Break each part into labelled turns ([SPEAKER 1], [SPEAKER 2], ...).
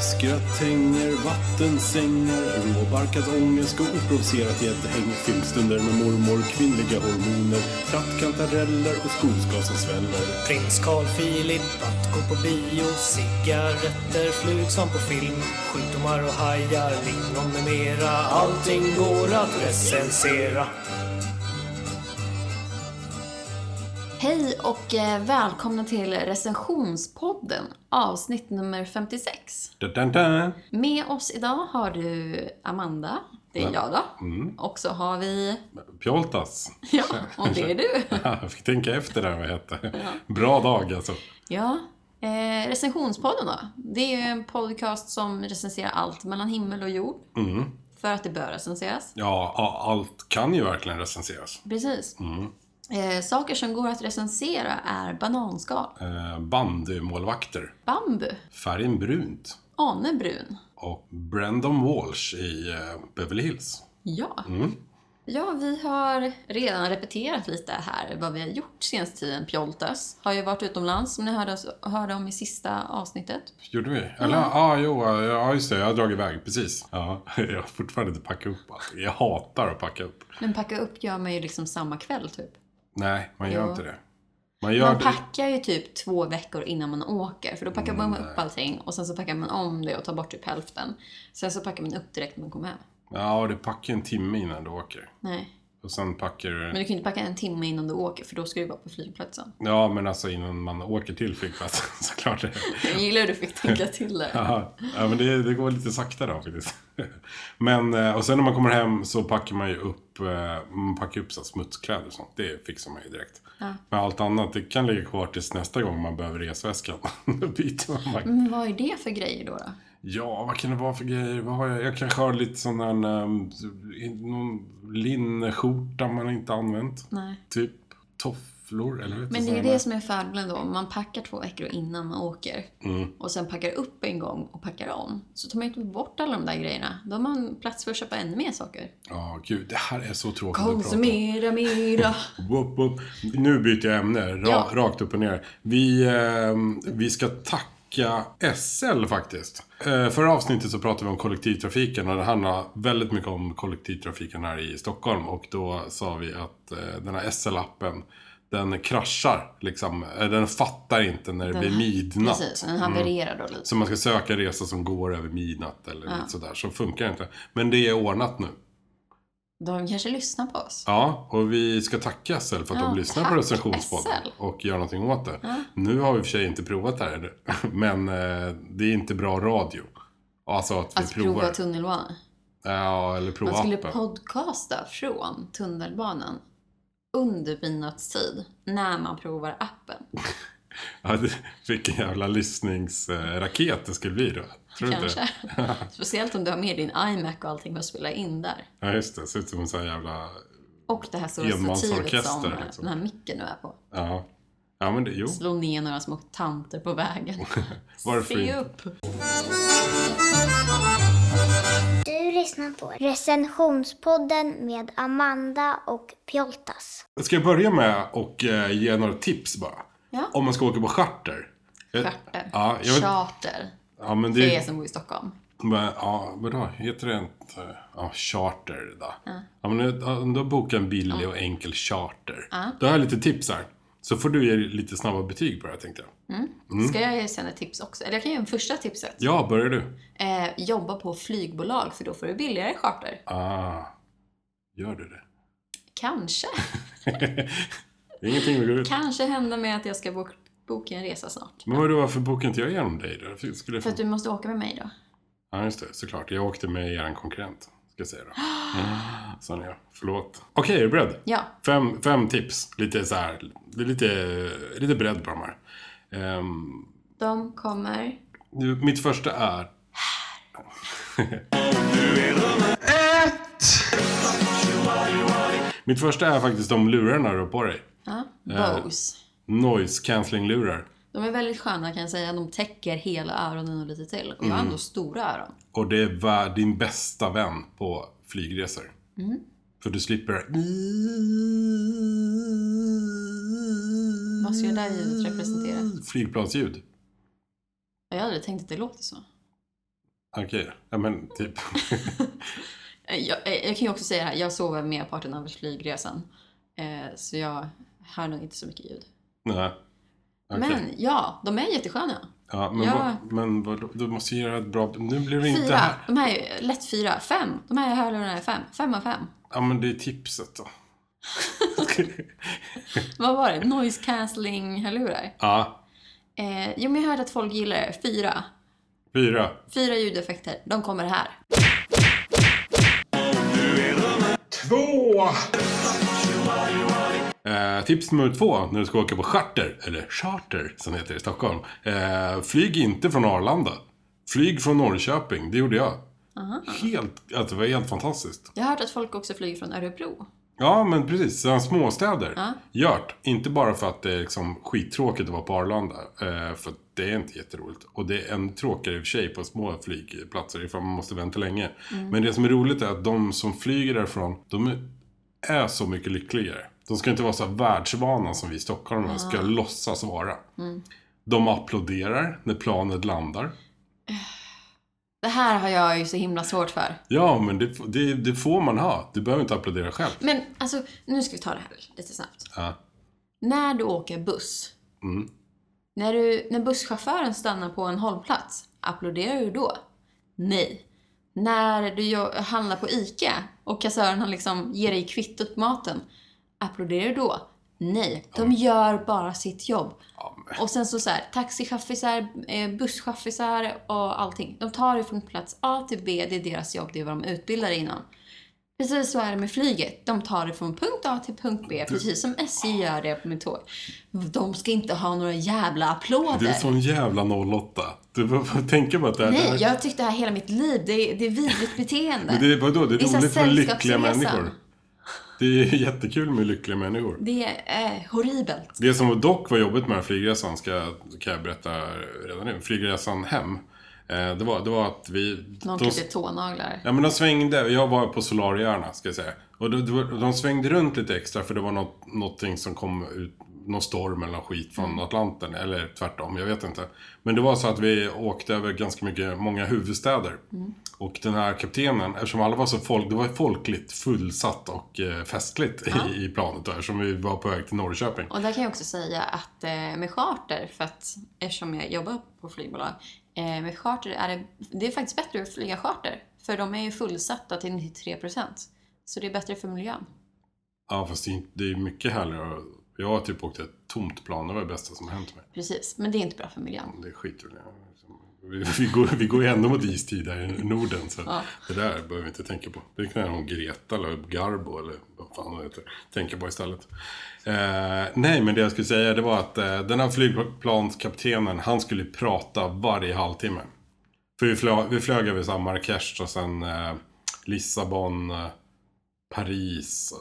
[SPEAKER 1] Skratt hänger, vattensängar, råbarkad ångest och oprovocerat gäddhäng. Filmstunder med mormor, kvinnliga hormoner, trattkantareller och skogsgasen sväller.
[SPEAKER 2] Prins Carl Philip att gå på bio, cigaretter, flug som på film, sjukdomar och hajar, lingon med mera. Allting går att recensera.
[SPEAKER 3] Hej och eh, välkomna till recensionspodden, avsnitt nummer 56.
[SPEAKER 1] Dun, dun, dun.
[SPEAKER 3] Med oss idag har du Amanda, det är
[SPEAKER 1] Ja.
[SPEAKER 3] jag då.
[SPEAKER 1] Mm.
[SPEAKER 3] Och så har vi,
[SPEAKER 1] Pjoltas.
[SPEAKER 3] ja, och det är du.
[SPEAKER 1] Jag fick tänka efter där vad jag hette. Bra dag alltså.
[SPEAKER 3] Ja. Eh, recensionspodden då? Det är ju en podcast som recenserar allt mellan himmel och jord.
[SPEAKER 1] Mm.
[SPEAKER 3] För att det bör recenseras.
[SPEAKER 1] Ja, a- allt kan ju verkligen recenseras.
[SPEAKER 3] Precis.
[SPEAKER 1] Mm.
[SPEAKER 3] Eh, saker som går att recensera är bananskal,
[SPEAKER 1] Eh, Bandymålvakter.
[SPEAKER 3] bambu,
[SPEAKER 1] Färgen brunt.
[SPEAKER 3] anebrun.
[SPEAKER 1] Och Brandon Walsh i eh, Beverly Hills.
[SPEAKER 3] Ja.
[SPEAKER 1] Mm.
[SPEAKER 3] Ja, vi har redan repeterat lite här vad vi har gjort senaste tiden. Pjoltas har ju varit utomlands som ni hörde, oss, hörde om i sista avsnittet.
[SPEAKER 1] Gjorde vi? Eller ja, ah, jo, ja just det. Jag har dragit iväg, precis. Ja, jag har fortfarande inte packat upp. Alltså. Jag hatar att packa upp.
[SPEAKER 3] Men packa upp gör man ju liksom samma kväll typ.
[SPEAKER 1] Nej, man gör
[SPEAKER 3] Jo.
[SPEAKER 1] inte det. Man gör
[SPEAKER 3] man
[SPEAKER 1] det.
[SPEAKER 3] packar ju typ två veckor innan man åker. För då packar
[SPEAKER 1] Mm,
[SPEAKER 3] man upp allting och sen så packar man om det och tar bort typ hälften. Sen så packar man upp direkt när man kommer hem.
[SPEAKER 1] Ja, du packar en timme innan du åker.
[SPEAKER 3] Nej.
[SPEAKER 1] Och sen packar
[SPEAKER 3] Men
[SPEAKER 1] du...
[SPEAKER 3] du kan ju inte packa en timme innan du åker för då ska du vara på flygplatsen.
[SPEAKER 1] Ja, men alltså innan man åker till flygplatsen såklart.
[SPEAKER 3] Jag gillar hur du fick tänka till där.
[SPEAKER 1] Ja, ja, men det, det går lite sakta då faktiskt. Men, eh, och sen när man kommer hem så packar man ju upp, eh, man packar upp så här smutskläder och sånt. Det fixar man ju direkt. Men allt annat, det kan ligga kvar tills nästa gång man behöver resväskan. Då byter man. vagn.
[SPEAKER 3] Men vad är det för grejer då? då?
[SPEAKER 1] Ja, vad kan det vara för grejer? Vad har jag? jag kanske har lite sån här, ehm, i- någon linneskjorta man inte använt.
[SPEAKER 3] Nej.
[SPEAKER 1] Typ tofflor eller vet du,
[SPEAKER 3] Men det är ju
[SPEAKER 1] sådana-
[SPEAKER 3] det som är fördelen då. Om man packar två veckor innan man åker
[SPEAKER 1] Mm.
[SPEAKER 3] och sen packar upp en gång och packar om. Så tar man ju inte bort alla de där grejerna. Då har man plats för att köpa ännu mer saker.
[SPEAKER 1] Ja, gud, det här är så tråkigt att prata om.
[SPEAKER 3] Konsumera mera.
[SPEAKER 1] Whoop, whoop. Nu byter jag ämne, ra-
[SPEAKER 3] Ja.
[SPEAKER 1] rakt upp och ner. Vi, ehm, vi ska tacka SL faktiskt. Eh, förra avsnittet så pratade vi om kollektivtrafiken och det handlar väldigt mycket om kollektivtrafiken här i Stockholm. Och då sa vi att eh, den här SL-appen, den kraschar liksom. Eh, Den fattar inte när det blir midnatt.
[SPEAKER 3] Precis, den havererar då lite.
[SPEAKER 1] Så man ska söka resor som går över midnatt eller lite sådär. Så funkar det inte. Men det är ordnat nu.
[SPEAKER 3] De kanske lyssnar på oss.
[SPEAKER 1] Ja, och vi ska tacka SL för att
[SPEAKER 3] Ja,
[SPEAKER 1] de lyssnar på
[SPEAKER 3] tack,
[SPEAKER 1] recensionspodden
[SPEAKER 3] SL.
[SPEAKER 1] och gör någonting åt det. Nu har vi i och för sig inte provat det här ännu, men eh, det är inte bra radio. Alltså att vi
[SPEAKER 3] Att
[SPEAKER 1] provar.
[SPEAKER 3] prova tunnelbanan.
[SPEAKER 1] ja, eller prova
[SPEAKER 3] Man skulle
[SPEAKER 1] appen.
[SPEAKER 3] podcasta från tunnelbanan under midnattstid när man provar appen.
[SPEAKER 1] Ja, det, vilken jävla lyssningsraket det skulle bli då. Tror du inte?
[SPEAKER 3] Kanske. Speciellt om du har med din iMac och allting för att spela in där.
[SPEAKER 1] Ja, just det. Det ser ut som en sån här jävla...
[SPEAKER 3] Och det här stora stativet
[SPEAKER 1] Enmansorkester,
[SPEAKER 3] som
[SPEAKER 1] liksom.
[SPEAKER 3] den här micken nu är på.
[SPEAKER 1] Ja, ja men det, jo.
[SPEAKER 3] Slå ner några små tanter på vägen.
[SPEAKER 1] Varför
[SPEAKER 3] Se
[SPEAKER 1] inte?
[SPEAKER 3] upp!
[SPEAKER 4] Du lyssnar på recensionspodden med Amanda och Pjoltas.
[SPEAKER 1] Ska jag börja med och eh, ge några tips bara?
[SPEAKER 3] Ja.
[SPEAKER 1] Om man ska åka på charter. Jag-
[SPEAKER 3] Charter.
[SPEAKER 1] Ja, jag vet,
[SPEAKER 3] Charter.
[SPEAKER 1] ja, men
[SPEAKER 3] För er som bor i Stockholm.
[SPEAKER 1] Men, ja, vadå? Heter det inte... Ja, charter då. Ja, men eh, om du bokar en billig och enkel charter. Då har jag lite tips här. Så får du ge lite snabba betyg på det här tänkte jag. Mm.
[SPEAKER 3] Ska jag ge sen ett tips också? Eller jag kan ge en första tipset.
[SPEAKER 1] Ja, börjar du?
[SPEAKER 3] Eh, jobba på flygbolag för då får du billigare charter.
[SPEAKER 1] Ah, gör du det?
[SPEAKER 3] Kanske.
[SPEAKER 1] Det är ingenting vi går ut
[SPEAKER 3] Kanske händer med att jag ska bok, boka en resa snart.
[SPEAKER 1] Men vadå, varför bokar inte jag igenom dig då? För- Skulle jag
[SPEAKER 3] För
[SPEAKER 1] få...
[SPEAKER 3] att du måste åka med mig då.
[SPEAKER 1] Ja, just det. Såklart. Jag åkte med er konkurrent. Ska jag säga då. Ah, Sån är jag. Förlåt. Okej, är du beredd?
[SPEAKER 3] Ja.
[SPEAKER 1] Fem, fem tips. Lite så här. Det är lite, lite bredd på de här. Ehm,
[SPEAKER 3] De kommer...
[SPEAKER 1] Nu, mitt första är... mitt första är faktiskt de lurarna du har på dig.
[SPEAKER 3] Ja. Bose.
[SPEAKER 1] Noise cancelling-lurar.
[SPEAKER 3] De är väldigt sköna kan jag säga. De täcker hela öronen och lite till. Och jag har
[SPEAKER 1] Mm.
[SPEAKER 3] ändå stora öron.
[SPEAKER 1] Och det är vär- din bästa vän på flygresor.
[SPEAKER 3] Mm.
[SPEAKER 1] För du slipper...
[SPEAKER 3] Vad ska det där Mm. ljudet representera?
[SPEAKER 1] Flygplansljud.
[SPEAKER 3] Jag hade tänkt att det låter så.
[SPEAKER 1] Okej, ja men typ.
[SPEAKER 3] Eh, Jag, eh, jag kan ju också säga det här, jag sover merparten av flygresan. Eh, så jag hör nog inte så mycket ljud.
[SPEAKER 1] Nej. Okej.
[SPEAKER 3] Men ja, de är jättesköna.
[SPEAKER 1] ja, men
[SPEAKER 3] ja.
[SPEAKER 1] vad- men vad, du måste göra ett bra... Nu blir det inte
[SPEAKER 3] Fyra,
[SPEAKER 1] här.
[SPEAKER 3] de här är ju lätt fyra. Fem, de här hörlurarna är fem. Fem av fem.
[SPEAKER 1] Ja, men det är tipset då.
[SPEAKER 3] Vad var det? Noise cancelling-hörlurar?
[SPEAKER 1] ja,
[SPEAKER 3] Eh, jo, men jag hörde att folk gillar det. Fyra.
[SPEAKER 1] fyra.
[SPEAKER 3] Fyra ljudeffekter. De kommer här.
[SPEAKER 1] Två! Eh, tips nummer två när du ska åka på charter, eller charter som det heter i Stockholm. Eh, flyg inte från Arlanda. Flyg från Norrköping, det gjorde jag. Helt, alltså, det var helt fantastiskt.
[SPEAKER 3] Jag har hört att folk också flyger från Örebro.
[SPEAKER 1] Ja, men precis. Sådana småstäder.
[SPEAKER 3] Ja.
[SPEAKER 1] Gört. Inte bara för att det är liksom skittråkigt att vara på Arlanda. eh, För att det är inte jätteroligt. Och det är en tråkigare i och för sig på små flygplatser ifall man måste vänta länge. Men det som är roligt är att de som flyger därifrån, de är- är så mycket lyckligare. De ska inte vara så här världsvana som vi stockholmare ska låtsas vara. De applåderar när planet landar.
[SPEAKER 3] Det här har jag ju så himla svårt för.
[SPEAKER 1] Ja, men det, det, det får man ha. Du behöver inte applådera själv.
[SPEAKER 3] Men alltså, nu ska vi ta det här lite snabbt.
[SPEAKER 1] Ja.
[SPEAKER 3] När du åker buss.
[SPEAKER 1] Mm.
[SPEAKER 3] När, du, när busschauffören stannar på en hållplats, applåderar du då? Nej. När du gör- handlar på ICA och kassören har liksom ger dig kvittot på maten, applåderar du då? Nej. De gör bara sitt jobb.
[SPEAKER 1] Ja, men-
[SPEAKER 3] Och sen så, så här, taxichaffisar, eh, busschaffisar och allting. De tar det från plats A till B, det är deras jobb, det är vad de utbildar inom. Precis så är det med flyget. De tar det från punkt A till punkt B, precis som SJ gör det med tåg. De ska inte ha några jävla
[SPEAKER 1] Du är
[SPEAKER 3] applåder.
[SPEAKER 1] sån jävla 08. Du behöver tänka på att det här...
[SPEAKER 3] Nej,
[SPEAKER 1] det här
[SPEAKER 3] jag har tyckt det här hela mitt liv. Det är, det är vidrigt beteende.
[SPEAKER 1] men det, är- vadå, det är
[SPEAKER 3] Det är så här
[SPEAKER 1] roligt med lyckliga
[SPEAKER 3] sällskapsresa.
[SPEAKER 1] människor. Det är jättekul med lyckliga människor.
[SPEAKER 3] Det är eh, horribelt.
[SPEAKER 1] Det som dock var jobbigt med den här flygresan, ska, kan jag berätta redan nu, flygresan hem. Eh, det, var, det var att vi...
[SPEAKER 3] Någon
[SPEAKER 1] de-
[SPEAKER 3] klippte tånaglar.
[SPEAKER 1] Ja men de svängde, jag var på Solariöarna ska jag säga. Och de, de, de svängde runt lite extra för det var något, någonting som kom ut, någon storm eller någon skit från Atlanten. Eller tvärtom, jag vet inte. Men det var så att vi åkte över ganska mycket, många huvudstäder. Och den här kaptenen, eftersom alla var så folk, det var folkligt fullsatt och eh, festligt i, i planet där. Som vi var på väg till Norrköping.
[SPEAKER 3] Och där kan jag också säga att eh, med charter, för att eftersom jag jobbar på flygbolag, eh, med charter är det, det är faktiskt bättre att flyga charter. För de är ju fullsatta till 93%. Så det är bättre för miljön.
[SPEAKER 1] Ja fast det är inte- det är mycket härligare. Jag har typ åkt ett tomt plan, det var det bästa som hänt mig.
[SPEAKER 3] Precis, men det är inte bra för miljön.
[SPEAKER 1] Det skiter väl jag i. vi, vi, går, vi går ju ändå mot istid här i Norden. Så
[SPEAKER 3] Ja.
[SPEAKER 1] Det där behöver vi inte tänka på. Det kan hon Greta eller Garbo eller vad fan hon heter tänka på istället. Eh, nej, men det jag skulle säga det var att eh, den här flygplanskaptenen, han skulle prata varje halvtimme. För vi flög, vi flög över så här Marrakesh och sen eh, Lissabon, eh, Paris,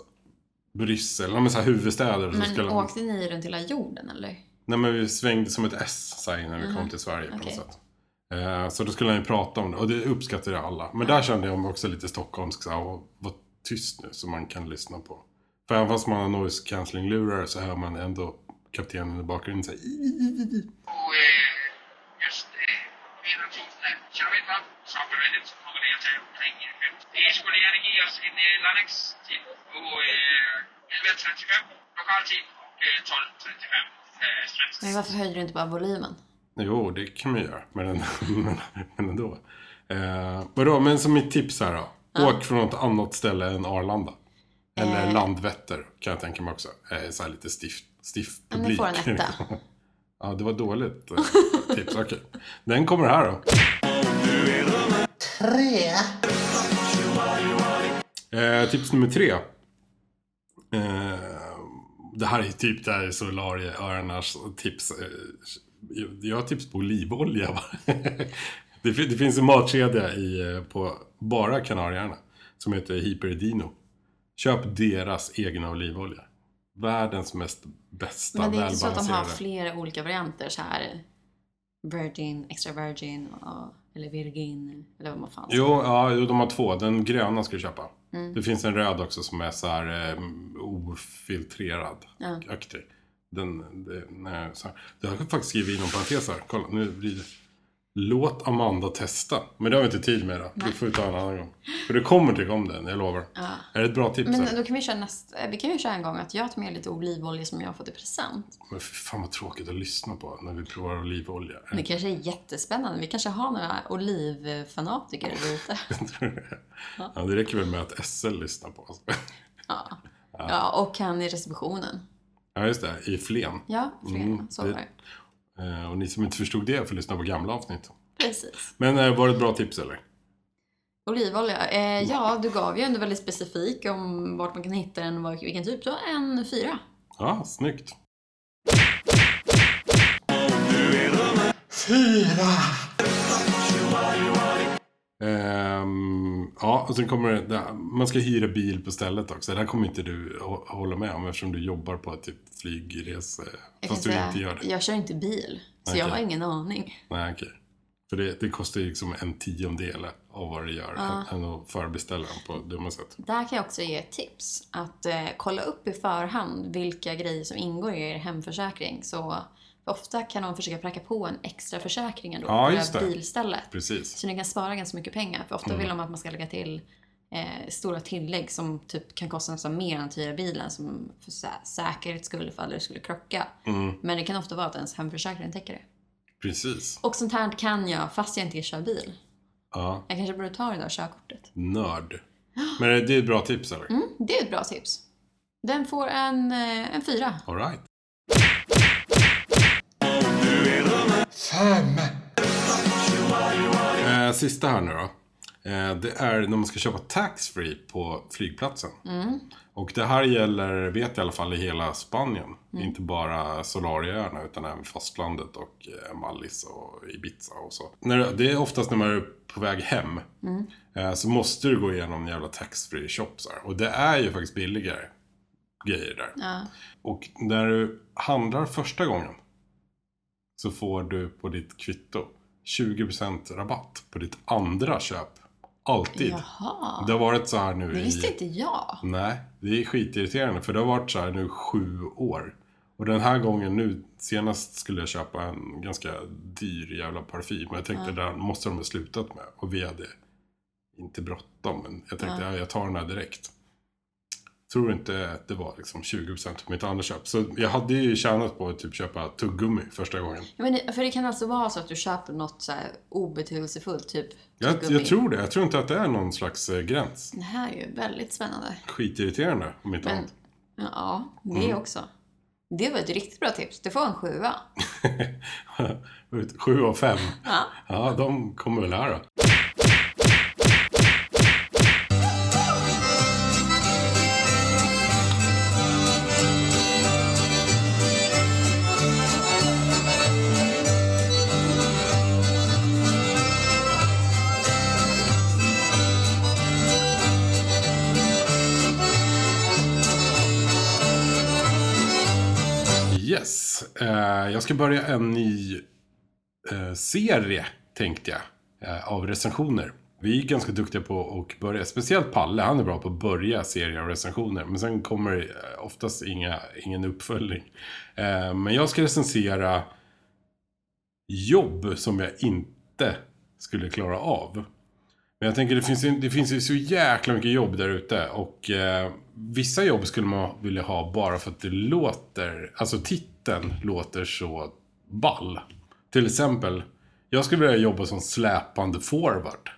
[SPEAKER 1] Bryssel. Ja, men så här huvudstäder. och så
[SPEAKER 3] Men
[SPEAKER 1] Alltså, skulle-
[SPEAKER 3] åkte ni runt hela jorden eller?
[SPEAKER 1] Nej men vi svängde som ett S så här, innan vi kom till Sverige på
[SPEAKER 3] Mhm. okej.
[SPEAKER 1] något sätt. Eh, Så då skulle han ju prata om det och det uppskattade alla. Men där kände jag mig också lite stockholmsk så här, och var tyst nu så man kan lyssna på. För även fast man har noise cancelling lurar så hör man ändå kaptenen i bakgrunden säga
[SPEAKER 5] Och eh, just eh, vid den tiden, jag vet inte, samhället kommer ner till omkring eh, 50. Det skulle gärna ge oss en eh, landningstid på eh, 11.35 lokal tid och eh, 12.35 eh, svensk
[SPEAKER 3] Men varför höjde du inte bara volymen?
[SPEAKER 1] Jo, det kan man göra. Men, ändå- men, men ändå. Eh, vadå, men som mitt tips här då. Åk från något annat ställe än Arlanda. Eller
[SPEAKER 3] Eh.
[SPEAKER 1] Landvetter kan jag tänka mig också. Eh, så här lite stiff, stiff
[SPEAKER 3] Ja, men
[SPEAKER 1] publik.
[SPEAKER 3] får en etta.
[SPEAKER 1] ja, det var dåligt eh, tips. Okej. Den kommer här då. Tre. Eh, tips nummer tre. Eh, det här är typ det här är solarieöarnas tips. Eh, Jag har tips på olivolja. Va? det, fin- det finns en matkedja i, eh, på bara Kanarieöarna som heter Hyperidino. Köp deras egna olivolja. Världens mest bästa,
[SPEAKER 3] Men det är inte så att de har
[SPEAKER 1] välbalanserade.
[SPEAKER 3] flera olika varianter så här Virgin, extra virgin, och, eller virgin, eller vad man fan
[SPEAKER 1] Jo, ja, jo, de har två. Den gröna ska du köpa.
[SPEAKER 3] Mm.
[SPEAKER 1] Det finns en röd också som är så här eh, ofiltrerad.
[SPEAKER 3] Ja.
[SPEAKER 1] Aktig. Den, det, nej, så här. Det har jag faktiskt skrivit inom parentes här. Kolla, nu blir det. Låt Amanda testa. Men det har vi inte tid med idag. Det får vi ta en annan gång. För du kommer tycka om den, jag lovar. Är det ett bra tips?
[SPEAKER 3] Men
[SPEAKER 1] Men,
[SPEAKER 3] då kan vi köra nästa, vi kan ju köra en gång att jag tar med lite olivolja som jag har fått i present.
[SPEAKER 1] men fy fan vad tråkigt att lyssna på när vi provar olivolja.
[SPEAKER 3] Det kanske är jättespännande. Vi kanske har några olivfanatiker där ute.
[SPEAKER 1] Ja, det räcker väl med att SL lyssnar på oss.
[SPEAKER 3] Ja. ja, och han i receptionen.
[SPEAKER 1] Ja, just det. I Flen.
[SPEAKER 3] Ja, Freda.
[SPEAKER 1] Mm,
[SPEAKER 3] så
[SPEAKER 1] det-
[SPEAKER 3] var det.
[SPEAKER 1] Eh, Och ni som inte förstod det får lyssna på gamla avsnitt.
[SPEAKER 3] Precis.
[SPEAKER 1] Men eh, var det ett bra tips eller?
[SPEAKER 3] Olivolja. Eh, ja, du gav ju ändå väldigt specifik om vart man kan hitta den och vad- vilken typ. Så en fyra.
[SPEAKER 1] Ja, snyggt. Ehm, ja, och sen kommer det, det, man ska hyra bil på stället också. Det här kommer inte du hå- hålla med om eftersom du jobbar på ett typ flygrese.
[SPEAKER 3] Jag kan
[SPEAKER 1] Fast du
[SPEAKER 3] säga,
[SPEAKER 1] inte gör det.
[SPEAKER 3] Jag kör inte bil, så
[SPEAKER 1] Okej.
[SPEAKER 3] jag har ingen aning.
[SPEAKER 1] Nej, okej. För det, det kostar ju liksom en tiondel av vad det gör än, än att förbeställa den på dumma sätt.
[SPEAKER 3] Där kan jag också ge ett tips. Att eh, kolla upp i förhand vilka grejer som ingår i er hemförsäkring. Så för ofta kan de försöka pracka på en extra försäkring ändå
[SPEAKER 1] Ja,
[SPEAKER 3] på
[SPEAKER 1] just
[SPEAKER 3] det här
[SPEAKER 1] det. Mm.
[SPEAKER 3] bilstället.
[SPEAKER 1] Precis.
[SPEAKER 3] Så ni kan spara ganska mycket pengar. För ofta vill de att man ska lägga till eh, stora tillägg som typ kan kosta nästan mer än att hyra bilen. Som för sä- säkerhets skull ifall det skulle krocka.
[SPEAKER 1] Mm.
[SPEAKER 3] Men det kan ofta vara att ens hemförsäkring täcker det.
[SPEAKER 1] Precis.
[SPEAKER 3] Och sånt här kan jag fast jag inte kör bil.
[SPEAKER 1] Ja,
[SPEAKER 3] Jag kanske borde ta det där körkortet.
[SPEAKER 1] nörd. Men eh, det det är ett bra tips eller?
[SPEAKER 3] Mm, det är ett bra tips. Den får en, eh, en fyra.
[SPEAKER 1] All right. Fem! Eh, sista här nu då. Eh, det är när man ska köpa taxfree på flygplatsen. Och det här
[SPEAKER 3] Mm.
[SPEAKER 1] gäller, vet jag i alla fall, i hela Spanien. Inte bara Solariaöarna utan även fastlandet och eh, Mallis och Ibiza och så. När, det är oftast när man är på väg hem.
[SPEAKER 3] Mm.
[SPEAKER 1] Eh, så måste du gå igenom en jävla taxfree shop så här. Och det är ju faktiskt billigare grejer där.
[SPEAKER 3] Ja.
[SPEAKER 1] Och när du handlar första gången så får du på ditt kvitto 20% rabatt på ditt andra köp. Alltid.
[SPEAKER 3] Jaha,
[SPEAKER 1] Det har varit så här nu
[SPEAKER 3] det
[SPEAKER 1] i...
[SPEAKER 3] visste inte jag.
[SPEAKER 1] Nej, det är skitirriterande för det har varit så här nu sju år. Och den här gången nu, senast skulle jag köpa en ganska dyr jävla parfym. Och jag tänkte, det där måste de ha slutat med. Och vi hade inte bråttom, men jag tänkte, ja. jag tar den här direkt. Tror inte att det var liksom 20% på mitt andra köp. Så jag hade ju tjänat på att typ köpa tuggummi första gången.
[SPEAKER 3] Ja, Men det, för det kan alltså vara så att du köper något så här obetydelsefullt, typ
[SPEAKER 1] Jag,
[SPEAKER 3] tuggummi.
[SPEAKER 1] jag tror det. Jag tror inte att det är någon slags eh, gräns.
[SPEAKER 3] Det här är ju väldigt spännande.
[SPEAKER 1] Skitirriterande, om inte
[SPEAKER 3] Men,
[SPEAKER 1] annat.
[SPEAKER 3] ja, det
[SPEAKER 1] Mm.
[SPEAKER 3] också. Det var ett riktigt bra tips. Det får en sjua.
[SPEAKER 1] Sju av fem.
[SPEAKER 3] Ja.
[SPEAKER 1] Ja, de kommer väl här då. Yes, eh, jag ska börja en ny eh, serie, tänkte jag, eh, av recensioner. Vi är ganska duktiga på att börja, speciellt Palle, han är bra på att börja serier av recensioner. Men sen kommer eh, oftast inga, ingen uppföljning. Eh, men jag ska recensera jobb som jag inte skulle klara av. Men jag tänker det finns, ju- det finns ju så jäkla mycket jobb där ute och eh, vissa jobb skulle man vilja ha bara för att det låter, alltså titeln låter så ball. Till exempel, jag skulle vilja jobba som släpande forward.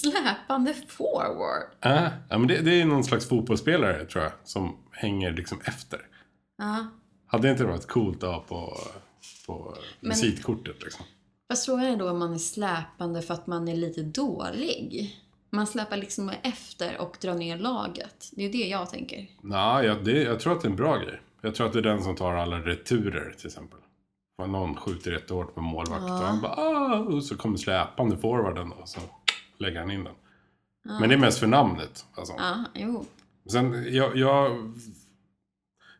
[SPEAKER 3] Släpande forward.
[SPEAKER 1] Äh, ja, men det, det är någon slags fotbollsspelare tror jag som hänger liksom efter.
[SPEAKER 3] Ja.
[SPEAKER 1] Hade inte det varit coolt att ha på, på visitkortet liksom?
[SPEAKER 3] Fast frågan är då om man är släpande för att man är lite dålig. Man släpar liksom efter och drar ner laget. Det är det jag tänker.
[SPEAKER 1] Nej, jag, det, jag tror att det är en bra grej. Jag tror att det är den som tar alla returer till exempel. Om någon skjuter jättehårt på målvakt och han bara ah! och så kommer släpande forwarden och så lägger han in den. Men det är mest för namnet. Alltså.
[SPEAKER 3] Ja, jo.
[SPEAKER 1] Sen, jag, jag...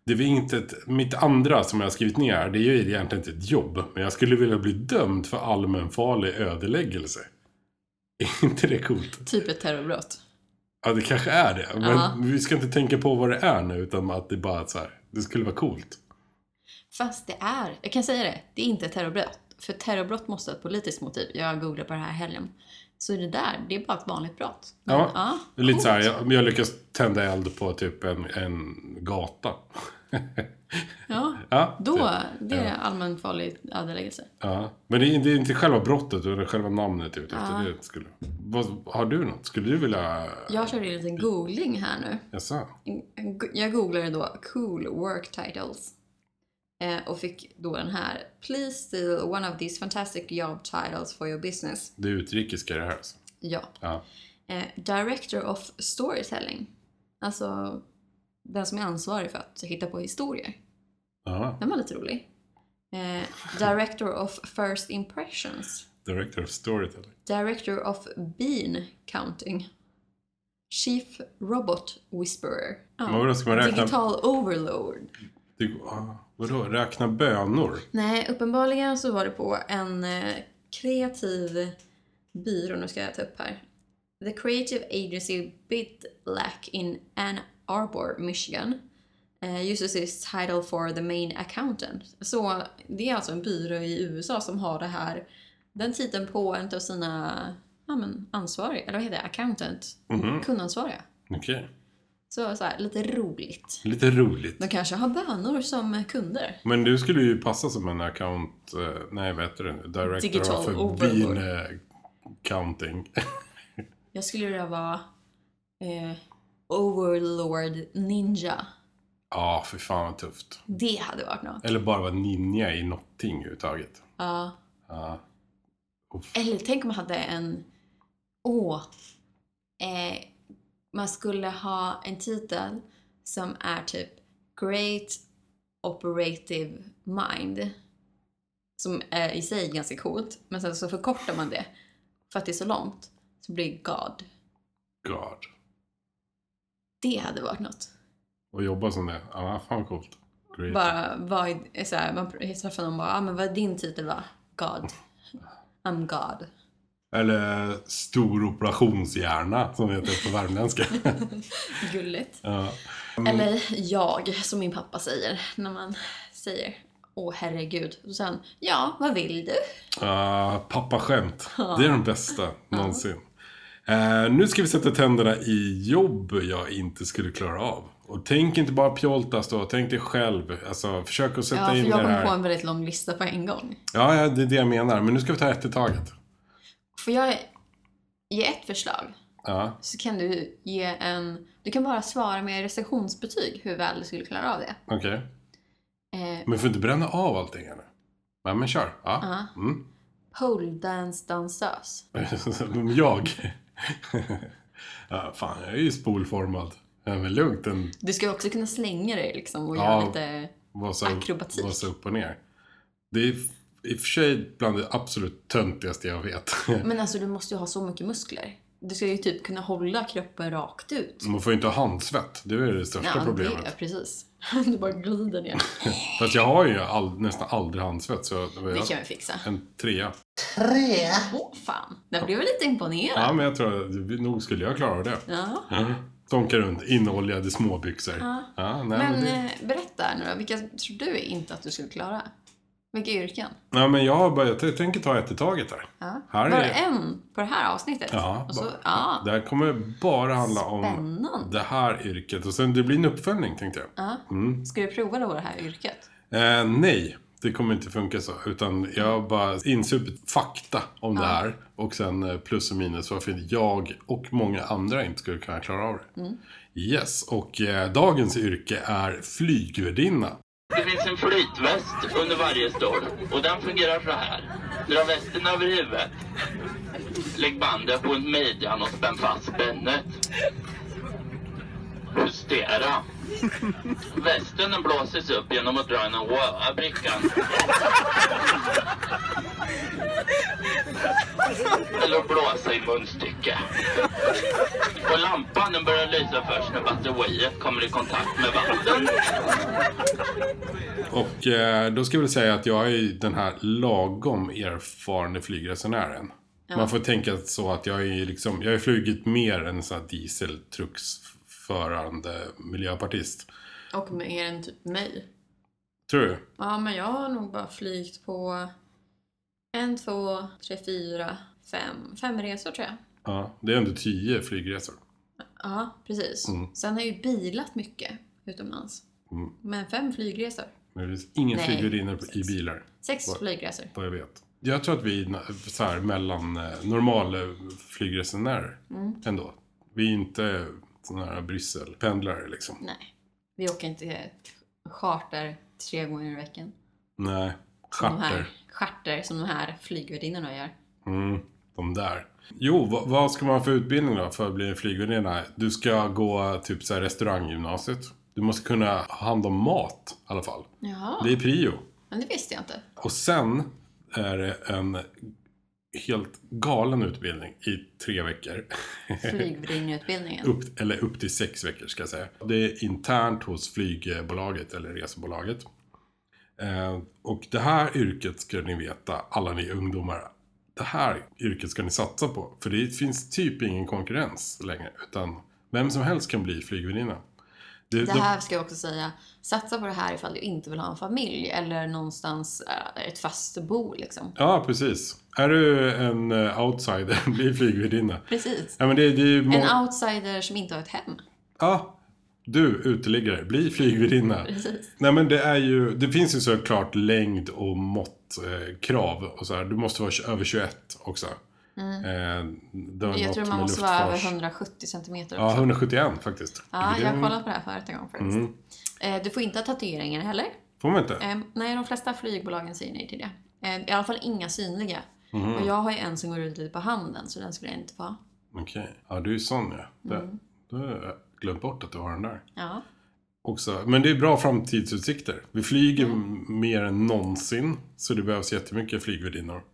[SPEAKER 1] Det är inte ett, mitt andra som jag har skrivit ner här, det är ju egentligen inte ett jobb. Men jag skulle vilja bli dömd för allmänfarlig ödeläggelse. Är inte det coolt?
[SPEAKER 3] Typ ett terrorbrott.
[SPEAKER 1] Ja, det kanske är det. Men
[SPEAKER 3] Ja.
[SPEAKER 1] vi ska inte tänka på vad det är nu, utan att det bara är så här, det skulle vara coolt.
[SPEAKER 3] Fast det är, jag kan säga det, det är inte ett terrorbrott. För terrorbrott måste ha ett politiskt motiv. Jag googlade på det här helgen. Så det där, det är bara ett vanligt brott. Men,
[SPEAKER 1] Ja, det är lite
[SPEAKER 3] coolt.
[SPEAKER 1] så här, jag, jag lyckas tända eld på typ en, en gata.
[SPEAKER 3] Ja.
[SPEAKER 1] ja,
[SPEAKER 3] Då,
[SPEAKER 1] det-
[SPEAKER 3] det är allmänt farlig ödeläggelse.
[SPEAKER 1] ja. Men det är, det är inte själva brottet, utan själva namnet. Ute,
[SPEAKER 3] Ja.
[SPEAKER 1] efter. det skulle, vad, har du något? Skulle du vilja...
[SPEAKER 3] Jag körde en liten googling här nu.
[SPEAKER 1] Jaså?
[SPEAKER 3] Jag googlade då cool work titles. Eh, Och fick då den här. Please steal one of these fantastic job titles for your business.
[SPEAKER 1] Det är utrikiska det här alltså.
[SPEAKER 3] Ja.
[SPEAKER 1] Ja.
[SPEAKER 3] Eh, director of storytelling. Alltså den som är ansvarig för att hitta på historier.
[SPEAKER 1] Ja,
[SPEAKER 3] Den var lite rolig. Eh, director of first impressions.
[SPEAKER 1] director of storytelling.
[SPEAKER 3] Director of bean counting. Chief robot whisperer. Ja.
[SPEAKER 1] Men vadå, ska man räkna-
[SPEAKER 3] Digital overlord.
[SPEAKER 1] Du, ah, vadå, räkna bönor?
[SPEAKER 3] Nej, uppenbarligen så var det på en eh, kreativ byrå, nu ska jag ta upp här. The Creative Agency Bitlack in Ann Arbor, Michigan eh, uses its title for the main accountant. Så det är alltså en byrå i USA som har det här, den titeln på en av sina ja, men, ansvariga, eller vad heter det, accountant, kundansvariga.
[SPEAKER 1] Okej.
[SPEAKER 3] Så, så här, lite roligt.
[SPEAKER 1] Lite roligt.
[SPEAKER 3] De kanske har bönor som kunder.
[SPEAKER 1] Men du skulle ju passa som en account... eh, Nej, vad heter det? Director
[SPEAKER 3] Digital
[SPEAKER 1] of
[SPEAKER 3] overlord.
[SPEAKER 1] bean eh, counting.
[SPEAKER 3] Jag skulle vilja vara eh, Overlord Ninja.
[SPEAKER 1] Ja, för fan vad tufft.
[SPEAKER 3] Det hade varit något.
[SPEAKER 1] Eller bara vara ninja i någonting överhuvudtaget.
[SPEAKER 3] Ja.
[SPEAKER 1] Ja.
[SPEAKER 3] Eller tänk om man hade en... Åh! Eh, man skulle ha en titel som är typ Great Operative Mind. Som är i sig ganska coolt, men sen så förkortar man det för att det är så långt. Så blir det God.
[SPEAKER 1] God.
[SPEAKER 3] Det hade varit något.
[SPEAKER 1] Och jobba som det. Ja, fan coolt. Great.
[SPEAKER 3] bara vad, är så här, man träffar någon och bara, ah, men vad är din titel va? God. I'm God.
[SPEAKER 1] Eller stor operationshjärna, som det heter på värmländska.
[SPEAKER 3] Gulligt.
[SPEAKER 1] ja.
[SPEAKER 3] Eller jag, som min pappa säger när man säger Åh herregud. Och sen, ja, vad vill du?
[SPEAKER 1] Ah, pappaskämt. Det är de bästa någonsin. Eh, nu ska vi sätta tänderna i jobb jag inte skulle klara av. Och tänk inte bara pjoltas då, tänk dig själv. Alltså, försök att sätta
[SPEAKER 3] Ja, för
[SPEAKER 1] in
[SPEAKER 3] jag
[SPEAKER 1] det
[SPEAKER 3] kom på
[SPEAKER 1] här.
[SPEAKER 3] en väldigt lång lista på en gång.
[SPEAKER 1] Ja, ja, det är det jag menar. Men nu ska vi ta ett i taget.
[SPEAKER 3] Får jag ge ett förslag?
[SPEAKER 1] Ja,
[SPEAKER 3] Så kan du ge en... Du kan bara svara med recensionsbetyg hur väl du skulle klara av det.
[SPEAKER 1] okej.
[SPEAKER 3] Eh,
[SPEAKER 1] Men får inte bränna av allting eller? Nej, men kör. Ja.
[SPEAKER 3] Ja.
[SPEAKER 1] Mm.
[SPEAKER 3] pole dance dansös.
[SPEAKER 1] jag. ja, fan, jag är ju spolformad. Ja, men lugnt, den
[SPEAKER 3] Du ska också kunna slänga dig liksom och
[SPEAKER 1] Ja.
[SPEAKER 3] göra lite...
[SPEAKER 1] vasa,
[SPEAKER 3] Akrobatik.
[SPEAKER 1] vasa upp och ner. Det är f- i och för sig bland det absolut töntigaste jag vet.
[SPEAKER 3] Men alltså du måste ju ha så mycket muskler. Du ska ju typ kunna hålla kroppen rakt ut.
[SPEAKER 1] Man får ju inte ha handsvett, det är ju Mm, det största problemet. Mm,
[SPEAKER 3] det, ja, precis. Du bara glider ner.
[SPEAKER 1] Fast jag har ju all, nästan aldrig handsvett, så det var
[SPEAKER 3] Det
[SPEAKER 1] jag,
[SPEAKER 3] kan vi fixa.
[SPEAKER 1] en trea.
[SPEAKER 3] Åh fan, där blev jag lite imponerad.
[SPEAKER 1] Ja, men jag tror att nog skulle jag klara det.
[SPEAKER 3] Ja.
[SPEAKER 1] Ja. Tonka runt, inoljade småbyxor. Ja. nej, men,
[SPEAKER 3] Men
[SPEAKER 1] det,
[SPEAKER 3] eh, berätta nu då, vilka tror du inte att du skulle klara? Vilka yrken?
[SPEAKER 1] nej, men jag har börjat, jag tänker ta ett i taget här.
[SPEAKER 3] Ja.
[SPEAKER 1] Här
[SPEAKER 3] Bara
[SPEAKER 1] är-
[SPEAKER 3] en på det här avsnittet?
[SPEAKER 1] Ja,
[SPEAKER 3] Och så,
[SPEAKER 1] bara-
[SPEAKER 3] ja.
[SPEAKER 1] Det här kommer bara handla om
[SPEAKER 3] Spännande.
[SPEAKER 1] det här yrket. Och sen det blir en uppföljning, tänkte jag.
[SPEAKER 3] ja. Ska du prova då det här yrket?
[SPEAKER 1] Eh, nej, det kommer inte funka så. Utan jag har bara insupit fakta om det här. Och sen eh, plus och minus varför jag och många andra inte skulle kunna klara av det. Yes, och eh, dagens yrke är flygvärdinna.
[SPEAKER 6] Det finns en flytväst under varje stol och den fungerar så här. Dra västen över huvudet. Lägg bandet runt midjan och spänn fast spännet. Justera. Västen den blåses upp genom att dra den röda brickan. Eller att blåsa i munstycke. Och lampan den börjar lysa först när batteriet kommer i kontakt med vatten.
[SPEAKER 1] Och eh, då ska jag väl säga att jag är ju den här lagom erfarne flygresenären. Man får tänka så att jag är liksom, jag har flugit mer än sån här dieseltrucksförande miljöpartist.
[SPEAKER 3] Och mer än typ mig.
[SPEAKER 1] Tror du?
[SPEAKER 3] Ja, men jag har nog bara flygt på En, två, tre, fyra, fem. Fem resor tror jag.
[SPEAKER 1] Ja, det är ändå tio flygresor.
[SPEAKER 3] Ja, precis. Sen har jag ju bilat mycket utomlands.
[SPEAKER 1] Mm.
[SPEAKER 3] Men fem flygresor.
[SPEAKER 1] Men det finns ingen
[SPEAKER 3] Nej.
[SPEAKER 1] flygvärdinna på- i bilar,
[SPEAKER 3] Sex
[SPEAKER 1] Vad-
[SPEAKER 3] flygresor.
[SPEAKER 1] vad jag vet. Jag tror att vi na- så här, mellan eh, normal eh, flygresenärer ändå. Vi är inte sådana här Brysselpendlare liksom.
[SPEAKER 3] Nej. Vi åker inte eh, charter tre gånger i veckan.
[SPEAKER 1] Nej,
[SPEAKER 3] Som de här,
[SPEAKER 1] charter.
[SPEAKER 3] charter som de här flygvärdinnorna gör.
[SPEAKER 1] Mm, de där. Jo, vad, vad ska man få utbildning då för att bli en flygvärdinna? Du ska gå typ så här restauranggymnasiet. Du måste kunna ha hand om mat i alla fall.
[SPEAKER 3] Jaha,
[SPEAKER 1] Det är prio.
[SPEAKER 3] men det visste jag inte.
[SPEAKER 1] Och sen är det en helt galen utbildning i tre veckor.
[SPEAKER 3] Flygvärdinneutbildningen.
[SPEAKER 1] upp, eller upp till sex veckor ska jag säga. Det är internt hos flygbolaget eller resebolaget. Eh, och det här yrket ska ni veta, alla ni ungdomar. Det här yrket ska ni satsa på. För det finns typ ingen konkurrens längre. Utan vem som helst kan bli flygvärdinna. Det-
[SPEAKER 3] Det
[SPEAKER 1] de-
[SPEAKER 3] här ska jag också säga, satsa på det här ifall du inte vill ha en familj eller någonstans eh, ett fast bo liksom.
[SPEAKER 1] Ja, precis. Är du en eh, outsider, bli flygvärdinna.
[SPEAKER 3] Precis.
[SPEAKER 1] Ja, men det, det är ju må-
[SPEAKER 3] En outsider som inte har ett hem.
[SPEAKER 1] Ja, du uteliggare, bli flygvärdinna.
[SPEAKER 3] Precis.
[SPEAKER 1] Nej men det är ju, det finns ju såklart längd och måttkrav eh, krav och så här. Du måste vara tj- över 21 också. Eh, det har
[SPEAKER 3] Mm. Jag
[SPEAKER 1] något
[SPEAKER 3] tror man
[SPEAKER 1] med
[SPEAKER 3] måste vara över
[SPEAKER 1] luftfars-
[SPEAKER 3] 170 centimeter
[SPEAKER 1] Ja,
[SPEAKER 3] också.
[SPEAKER 1] 171 faktiskt.
[SPEAKER 3] Ja,
[SPEAKER 1] Det Mm.
[SPEAKER 3] jag har kollat på det här förut en gång faktiskt. Eh, Du får inte ha tatueringar heller.
[SPEAKER 1] Får man inte?
[SPEAKER 3] Eh, Nej, de flesta flygbolagen säger nej till det. Eh, I alla fall inga synliga.
[SPEAKER 1] Mhm.
[SPEAKER 3] Och jag har ju en som går ut lite på handen, så den skulle jag inte få ha.
[SPEAKER 1] Okej. Ja, du är ju sån ja. Det,
[SPEAKER 3] Mm.
[SPEAKER 1] Då har jag glömt bort att du har den där.
[SPEAKER 3] Ja.
[SPEAKER 1] Också. Men det är bra framtidsutsikter. Vi flyger m- mer än någonsin. Så det behövs jättemycket flygvärdinnor.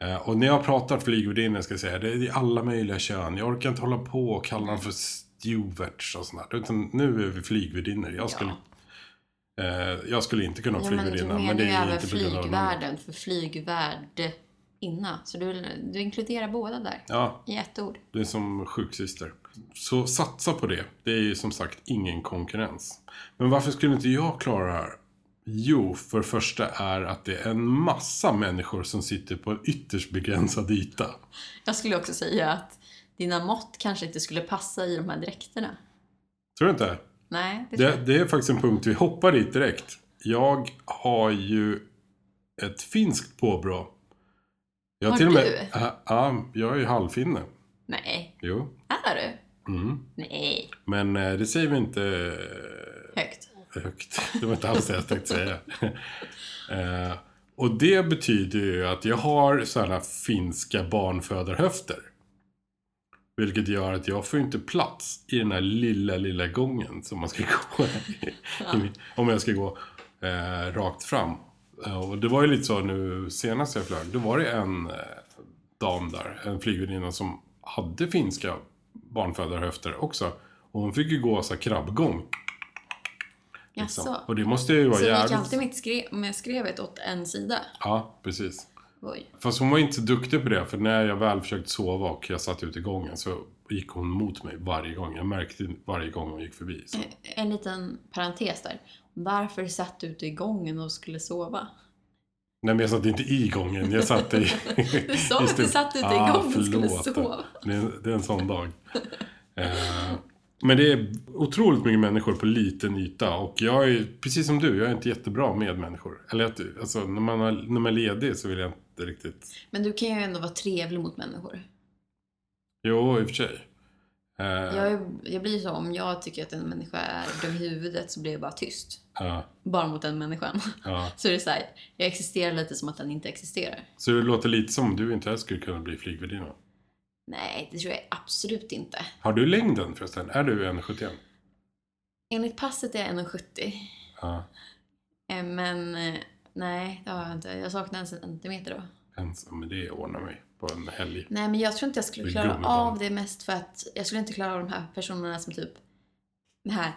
[SPEAKER 1] Eh, Och när jag pratar flygvärdinnor ska jag säga, det är i alla möjliga kön. Jag orkar inte hålla på och kalla dem för stewards och sånt där. Utan nu är vi flygvärdinnor. Jag skulle, eh, jag skulle inte kunna vara
[SPEAKER 3] Ja, men du
[SPEAKER 1] flygvärdinna. Men,
[SPEAKER 3] menar
[SPEAKER 1] det
[SPEAKER 3] ju
[SPEAKER 1] är
[SPEAKER 3] även
[SPEAKER 1] inte på grund av namnet.
[SPEAKER 3] flygvärden, för flygvärdinna. Så du, du inkluderar båda där,
[SPEAKER 1] Ja,
[SPEAKER 3] i ett ord.
[SPEAKER 1] Det är som sjuksyster. Så satsa på det. Det är ju som sagt ingen konkurrens. Men varför skulle inte jag klara det här? Jo, för det första är att det är en massa människor som sitter på en ytterst begränsad yta.
[SPEAKER 3] Jag skulle också säga att dina mått kanske inte skulle passa i de här dräkterna.
[SPEAKER 1] Tror du inte?
[SPEAKER 3] Nej, det tror
[SPEAKER 1] Det,
[SPEAKER 3] jag.
[SPEAKER 1] det är faktiskt en punkt vi hoppar dit direkt. Jag har ju ett finskt påbrå. Jag
[SPEAKER 3] Har
[SPEAKER 1] du? Ja, jag är ju halvfinne.
[SPEAKER 3] Nej.
[SPEAKER 1] Jo.
[SPEAKER 3] Är du?
[SPEAKER 1] Mm.
[SPEAKER 3] Nej.
[SPEAKER 1] Men eh, det säger vi eh, inte
[SPEAKER 3] Högt.
[SPEAKER 1] Liksom. högt. Det var inte alls det jag tänkte säga. Eh, och det betyder ju att jag har sådana finska barnfödarhöfter. Vilket gör att jag får ju inte plats i den här lilla, lilla gången som man ska gå. i- i- Om jag ska gå eh, rakt fram. Eh, och det var ju lite så nu senast jag flög. Då var det en eh, dam där, en flygvärdinna som hade finska barnfödarhöfter också. Och hon fick ju gå så här krabbgång. Liksom.
[SPEAKER 3] Jaså?
[SPEAKER 1] Och det måste ju vara
[SPEAKER 3] Så du gick
[SPEAKER 1] jävligt...
[SPEAKER 3] alltså, alltid mitt skre- med skrevet åt en sida?
[SPEAKER 1] Ja, precis.
[SPEAKER 3] Oj.
[SPEAKER 1] Fast hon var inte så duktig på det, för när jag väl försökte sova och jag satt ute i gången så gick hon mot mig varje gång. Jag märkte varje gång hon gick förbi. Så.
[SPEAKER 3] En liten parentes där. Varför satt du ute i gången och skulle sova?
[SPEAKER 1] Nej, men jag satt inte i gången. Jag satt i...
[SPEAKER 3] Du sa
[SPEAKER 1] i
[SPEAKER 3] att du
[SPEAKER 1] stug-
[SPEAKER 3] satt ute i gången och skulle
[SPEAKER 1] Ah, förlåt.
[SPEAKER 3] sova.
[SPEAKER 1] Det är, det är en sån dag. Eh, men det är otroligt mycket människor på liten yta. Och jag är, precis som du, jag är inte jättebra med människor. Eller att, alltså, när man, har, när man är ledig så vill jag inte riktigt...
[SPEAKER 3] Men du kan ju ändå vara trevlig mot människor.
[SPEAKER 1] Jo, i och för sig. Eh,
[SPEAKER 3] Jag, är, jag blir så, om jag tycker att en människa är dum i huvudet så blir jag bara tyst.
[SPEAKER 1] ja,
[SPEAKER 3] Bara mot den människan.
[SPEAKER 1] ja.
[SPEAKER 3] Så är det så här, jag existerar lite som att den inte existerar.
[SPEAKER 1] Så det låter lite som du inte ens skulle kunna bli flygvärdinna.
[SPEAKER 3] Nej, det tror jag absolut inte.
[SPEAKER 1] Har du längden förresten? Är du 1,71?
[SPEAKER 3] Enligt passet är jag 1,70.
[SPEAKER 1] Ja.
[SPEAKER 3] Eh, Men eh, nej, det har jag inte. Jag saknar en centimeter då.
[SPEAKER 1] Ens, men det ordnar mig på en helg.
[SPEAKER 3] Nej, men jag tror inte jag skulle
[SPEAKER 1] Det är
[SPEAKER 3] klara
[SPEAKER 1] gummiband.
[SPEAKER 3] av det mest för att jag skulle inte klara av de här personerna som typ den här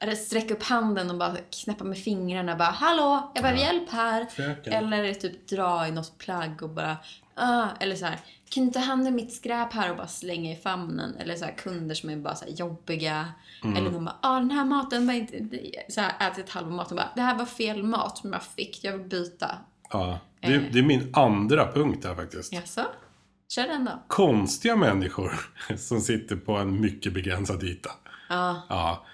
[SPEAKER 3] eller sträcka upp handen och bara knäppa med fingrarna och bara Hallå, jag behöver
[SPEAKER 1] Ja.
[SPEAKER 3] hjälp här.
[SPEAKER 1] Fröken.
[SPEAKER 3] Eller typ dra i något plagg och bara ah, Eller så här, kan du ta hand om mitt skräp här och bara slänga i famnen? Eller så här, kunder som är bara så här jobbiga.
[SPEAKER 1] Mm.
[SPEAKER 3] Eller någon bara, ah, den här maten var inte... Så här, ätit halva maten och bara, det här var fel mat som jag fick, jag vill byta.
[SPEAKER 1] Ja. Det,
[SPEAKER 3] Eh.
[SPEAKER 1] det är min andra punkt här faktiskt.
[SPEAKER 3] Jaså? Kör den då.
[SPEAKER 1] Konstiga människor som sitter på en mycket begränsad yta.
[SPEAKER 3] Ja.
[SPEAKER 1] Ja.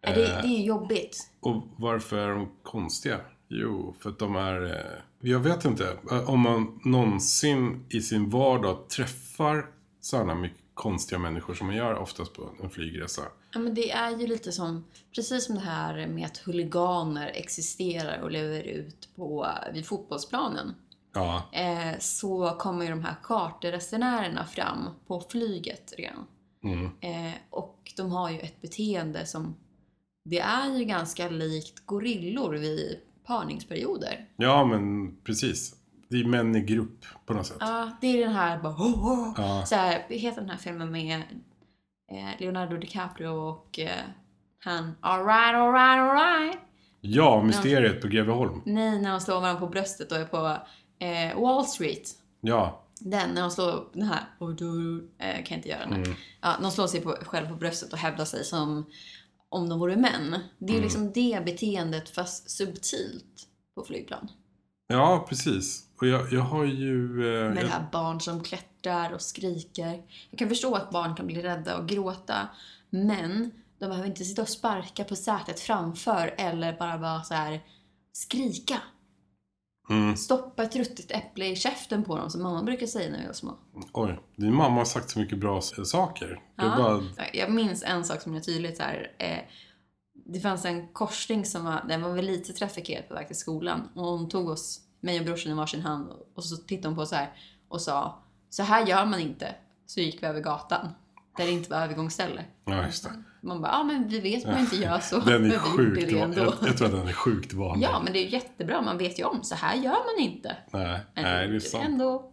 [SPEAKER 3] Ja, Det, det är jobbigt.
[SPEAKER 1] Och varför är de konstiga? Jo, för att de är... eh, Jag vet inte. eh, Om man någonsin i sin vardag träffar sådana mycket konstiga människor som man gör oftast på en flygresa.
[SPEAKER 3] Ja, men det är ju lite som, precis som det här med att huliganer existerar och lever ut på, vid fotbollsplanen.
[SPEAKER 1] Ja,
[SPEAKER 3] Eh, så kommer ju de här charterresenärerna fram på flyget redan.
[SPEAKER 1] mm,
[SPEAKER 3] Eh, och de har ju ett beteende som, det är ju ganska likt gorillor vid parningsperioder.
[SPEAKER 1] ja men precis. Det är män i grupp på något sätt.
[SPEAKER 3] Ja, det är den här bara oh, oh.
[SPEAKER 1] Ja.
[SPEAKER 3] Så här, heter den här filmen med eh, Leonardo DiCaprio och eh, han alright, alright, alright.
[SPEAKER 1] Ja, mysteriet på Greveholm.
[SPEAKER 3] Nej, när de slår varandra på bröstet och är på eh, Wall Street.
[SPEAKER 1] Ja,
[SPEAKER 3] Den, när de slår den här. Och du, eh, kan jag inte göra den här. Ja, de slår sig på, själv på bröstet och hävdar sig som om de vore män. Det är ju liksom det beteendet fast subtilt på flygplan.
[SPEAKER 1] ja precis. Och jag, jag har ju... eh,
[SPEAKER 3] Med
[SPEAKER 1] jag-
[SPEAKER 3] det här barn som klättrar och skriker. Jag kan förstå att barn kan bli rädda och gråta. Men de behöver inte sitta och sparka på sätet framför eller bara vara så här skrika.
[SPEAKER 1] Mm.
[SPEAKER 3] Stoppa ett ruttet äpple i käften på dem som mamma brukar säga när vi var små.
[SPEAKER 1] Oj, din mamma har sagt så mycket bra s- saker. Jag
[SPEAKER 3] Ja.
[SPEAKER 1] bara...
[SPEAKER 3] Jag minns en sak som är tydligt så här. Eh, det fanns en korsning som var, den var väl lite trafikerad på väg till skolan. Och hon tog oss, mig och brorsan i varsin hand och så tittade hon på oss så här och sa så här gör man inte. Så gick vi över gatan där det inte var övergångsställe.
[SPEAKER 1] Ja, just det.
[SPEAKER 3] Man bara, ja ah, men vi vet man inte gör så.
[SPEAKER 1] Den
[SPEAKER 3] men
[SPEAKER 1] är
[SPEAKER 3] vi gjorde
[SPEAKER 1] sjukt...
[SPEAKER 3] det
[SPEAKER 1] van-
[SPEAKER 3] ändå.
[SPEAKER 1] Jag, jag tror att den är sjukt vanlig.
[SPEAKER 3] Ja men det är ju jättebra, man vet ju om, så här gör man inte.
[SPEAKER 1] Nej,
[SPEAKER 3] Men
[SPEAKER 1] nej, det är
[SPEAKER 3] gjorde
[SPEAKER 1] sant.
[SPEAKER 3] Ändå.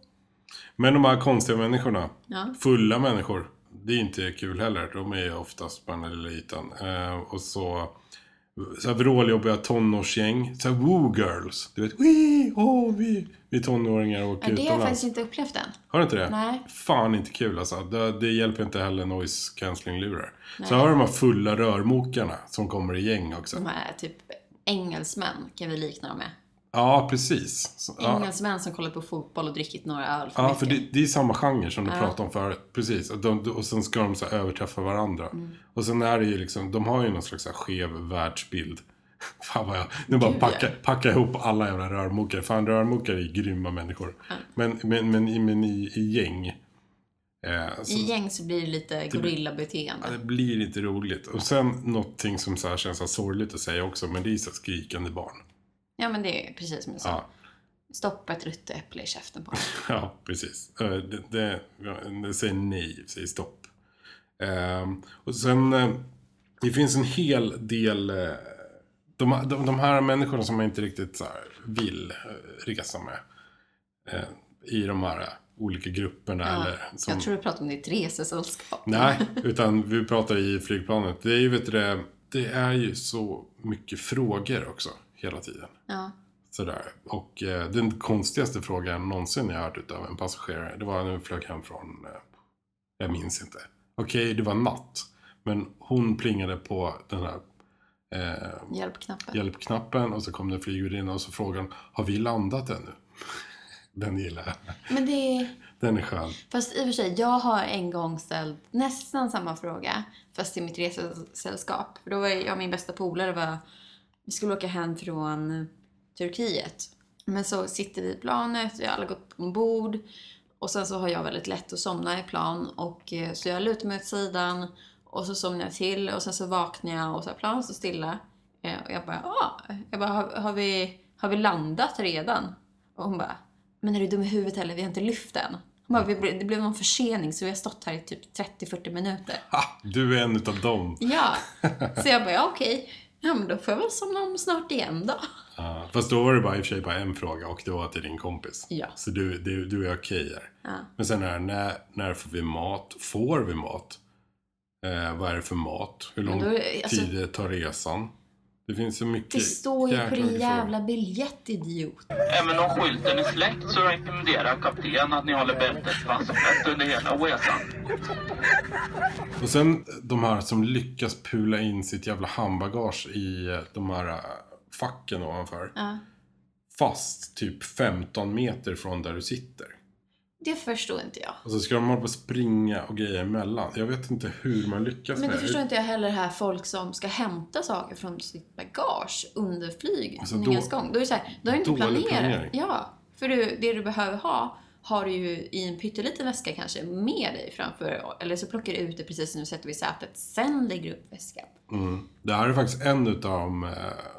[SPEAKER 1] Men de här konstiga människorna.
[SPEAKER 3] Ja.
[SPEAKER 1] Fulla människor. Det är inte kul heller. De är ju oftast på den här lilla ytan. Eh, och så... Så här vråljobbiga tonårsgäng. Så här woo girls. Du vet, wee, oh, vi. Vi tonåringar och åker
[SPEAKER 3] Ja, det har jag
[SPEAKER 1] utomlands.
[SPEAKER 3] faktiskt inte upplevt än.
[SPEAKER 1] Har du inte det?
[SPEAKER 3] Nej.
[SPEAKER 1] Fan inte kul alltså. Det, det hjälper inte heller noise cancelling-lurar. Så har de här fulla rörmokarna som kommer i gäng också.
[SPEAKER 3] De här typ engelsmän kan vi likna dem med.
[SPEAKER 1] Ja, precis. Så, ja.
[SPEAKER 3] Engelsmän som kollat på fotboll och drickit några öl för
[SPEAKER 1] Ja,
[SPEAKER 3] mycket.
[SPEAKER 1] för det, alltså- det är samma genre som du pratade om förut. Precis. Och, de, och sen ska de så här överträffa varandra.
[SPEAKER 3] Mm.
[SPEAKER 1] Och sen är det ju liksom, de har ju någon slags så här skev världsbild. Fan vad jag, nu bara packa, packa ihop alla jävla rörmokare. Fan rörmokare är grymma människor. Men, men, men, i- men i, i gäng. Eh, så-
[SPEAKER 3] I gäng så blir det lite gorillabeteende.
[SPEAKER 1] Ja, det blir inte roligt. Och sen någonting som så här känns så här sorgligt att säga också, men det är så här skrikande barn.
[SPEAKER 3] Ja men det är precis som jag sa.
[SPEAKER 1] Ja,
[SPEAKER 3] Stoppa ett ruttet äpple i käften på dem.
[SPEAKER 1] ja precis. Eh, Det, det, det säger nej, säger stopp. Ehm, och sen, eh, det finns en hel del, eh, de, de, de här människorna som man inte riktigt så här vill eh, resa med. eh, I de här eh, olika grupperna. eller som,
[SPEAKER 3] Jag tror du pratar om ditt resesällskap.
[SPEAKER 1] Nej, utan vi pratar i flygplanet. Det är ju, vet du, det, det är ju så mycket frågor också hela tiden.
[SPEAKER 3] Ja.
[SPEAKER 1] Sådär. Och eh, den konstigaste frågan någonsin jag hört utav en passagerare, det var när vi flög hem från, eh, jag minns inte. Okej, det var natt. Men hon plingade på den här eh,
[SPEAKER 3] Hjälpknappen.
[SPEAKER 1] hjälpknappen och så kom det en flygvärdinna och så frågade hon, har vi landat ännu? den gillar jag.
[SPEAKER 3] Men det är...
[SPEAKER 1] Den är skön.
[SPEAKER 3] Fast i och för sig, jag har en gång ställt nästan samma fråga. Fast till mitt resesällskap. För då var jag och min bästa polare var... Vi skulle åka hem från Turkiet. Men så sitter vi i planet, vi har alla gått ombord. Och sen så har jag väldigt lätt att somna i plan. Och eh, så jag lutar mig åt sidan. Och så somnar jag till och sen så vaknar jag och så här, planet står stilla. Eh, Och jag bara, ah. jag bara har, har, vi, har vi landat redan? Och hon bara, men är du dum i huvudet eller? Vi har inte lyft än. Hon bara, vi, ble- det blev någon försening så vi har stått här i typ 30-40 minuter.
[SPEAKER 1] Ha, du är en utav dem.
[SPEAKER 3] Ja, så jag bara, ja, okej. Ja, men då får jag väl somna om snart igen då.
[SPEAKER 1] Ja, fast då var det bara i och för sig bara en fråga och det var till din kompis.
[SPEAKER 3] Ja.
[SPEAKER 1] Så du, du, du är okej där.
[SPEAKER 3] Ja.
[SPEAKER 1] Men sen är det, när, när får vi mat? Får vi mat? Eh, vad är det för mat? Hur lång
[SPEAKER 3] Men då är- alltså-
[SPEAKER 1] tid tar resan? Det finns så mycket
[SPEAKER 3] Det står ju på
[SPEAKER 1] jäkla
[SPEAKER 3] din
[SPEAKER 1] mycket
[SPEAKER 3] jävla biljett, idiot.
[SPEAKER 6] Även om skylten är släckt så rekommenderar kapten att ni håller bältet fastspänt under hela resan.
[SPEAKER 1] frågor. Och sen de här som lyckas pula in sitt jävla handbagage i de här eh, facken eh, ovanför.
[SPEAKER 3] Ja.
[SPEAKER 1] fast typ 15 meter från där du sitter.
[SPEAKER 3] Det förstår inte jag.
[SPEAKER 1] Och så ska de hålla på och springa och grejer emellan. Jag vet inte hur man lyckas
[SPEAKER 3] Men
[SPEAKER 1] med
[SPEAKER 3] det förstår
[SPEAKER 1] det.
[SPEAKER 3] inte jag heller här folk som ska hämta saker från sitt bagage under
[SPEAKER 1] Alltså,
[SPEAKER 3] flygningens
[SPEAKER 1] då-
[SPEAKER 3] gång. Då är det så här, då har du inte
[SPEAKER 1] dålig
[SPEAKER 3] planerat.
[SPEAKER 1] planering.
[SPEAKER 3] Ja, för du, det du behöver ha har du ju i en pytteliten väska kanske med dig framför eller så plockar du ut det precis när du sätter dig i sätet. Sen lägger du upp väskan.
[SPEAKER 1] Mm. Det här är faktiskt en av de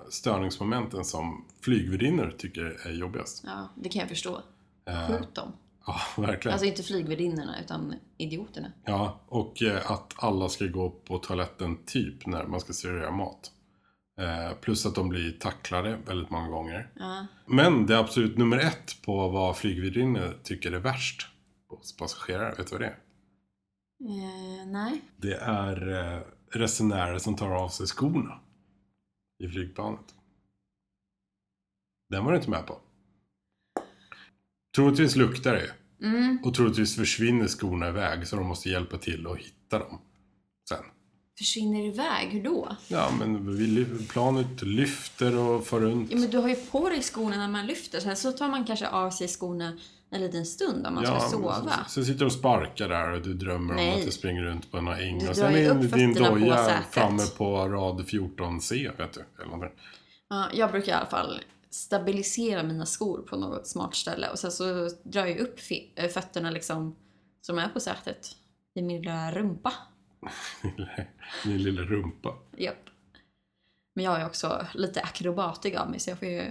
[SPEAKER 1] störningsmomenten som flygvärdinnor tycker är jobbigast.
[SPEAKER 3] Ja, det kan jag förstå.
[SPEAKER 1] Eh,
[SPEAKER 3] Skjut dem.
[SPEAKER 1] Ja, verkligen.
[SPEAKER 3] Alltså inte flygvärdinnorna utan idioterna.
[SPEAKER 1] Ja, och eh, att alla ska gå på toaletten typ när man ska servera mat. Eh, Plus att de blir tacklade väldigt många gånger.
[SPEAKER 3] Ja.
[SPEAKER 1] Men det är absolut nummer ett på vad flygvärdinnor tycker är värst hos passagerare. Vet du vad det är?
[SPEAKER 3] Eh, nej.
[SPEAKER 1] Det är eh, resenärer som tar av sig skorna i flygplanet. Den var du inte med på. Troligtvis luktar det
[SPEAKER 3] Mm.
[SPEAKER 1] och troligtvis försvinner skorna iväg så de måste hjälpa till att hitta dem sen.
[SPEAKER 3] Försvinner iväg, hur då?
[SPEAKER 1] Ja, men vi, ly- planet lyfter och far runt.
[SPEAKER 3] Ja, men du har ju på dig skorna när man lyfter. Sen så tar man kanske av sig skorna en liten stund om man
[SPEAKER 1] Ja,
[SPEAKER 3] ska
[SPEAKER 1] men
[SPEAKER 3] sova.
[SPEAKER 1] Så, så sitter de och sparkar där och du drömmer om
[SPEAKER 3] Nej.
[SPEAKER 1] att du springer runt på några äng.
[SPEAKER 3] Du
[SPEAKER 1] Och
[SPEAKER 3] drar
[SPEAKER 1] sen
[SPEAKER 3] ju
[SPEAKER 1] är
[SPEAKER 3] upp
[SPEAKER 1] din
[SPEAKER 3] fötterna på
[SPEAKER 1] doja
[SPEAKER 3] sätet.
[SPEAKER 1] framme på rad 14C, vet du. Eller någonting.
[SPEAKER 3] Ja, jag brukar i alla fall stabilisera mina skor på något smart ställe och sen så drar jag upp fi- äh, fötterna liksom som är på sätet i min lilla rumpa.
[SPEAKER 1] Din lilla rumpa.
[SPEAKER 3] Japp. Men jag är också lite akrobatig av mig så jag får ju...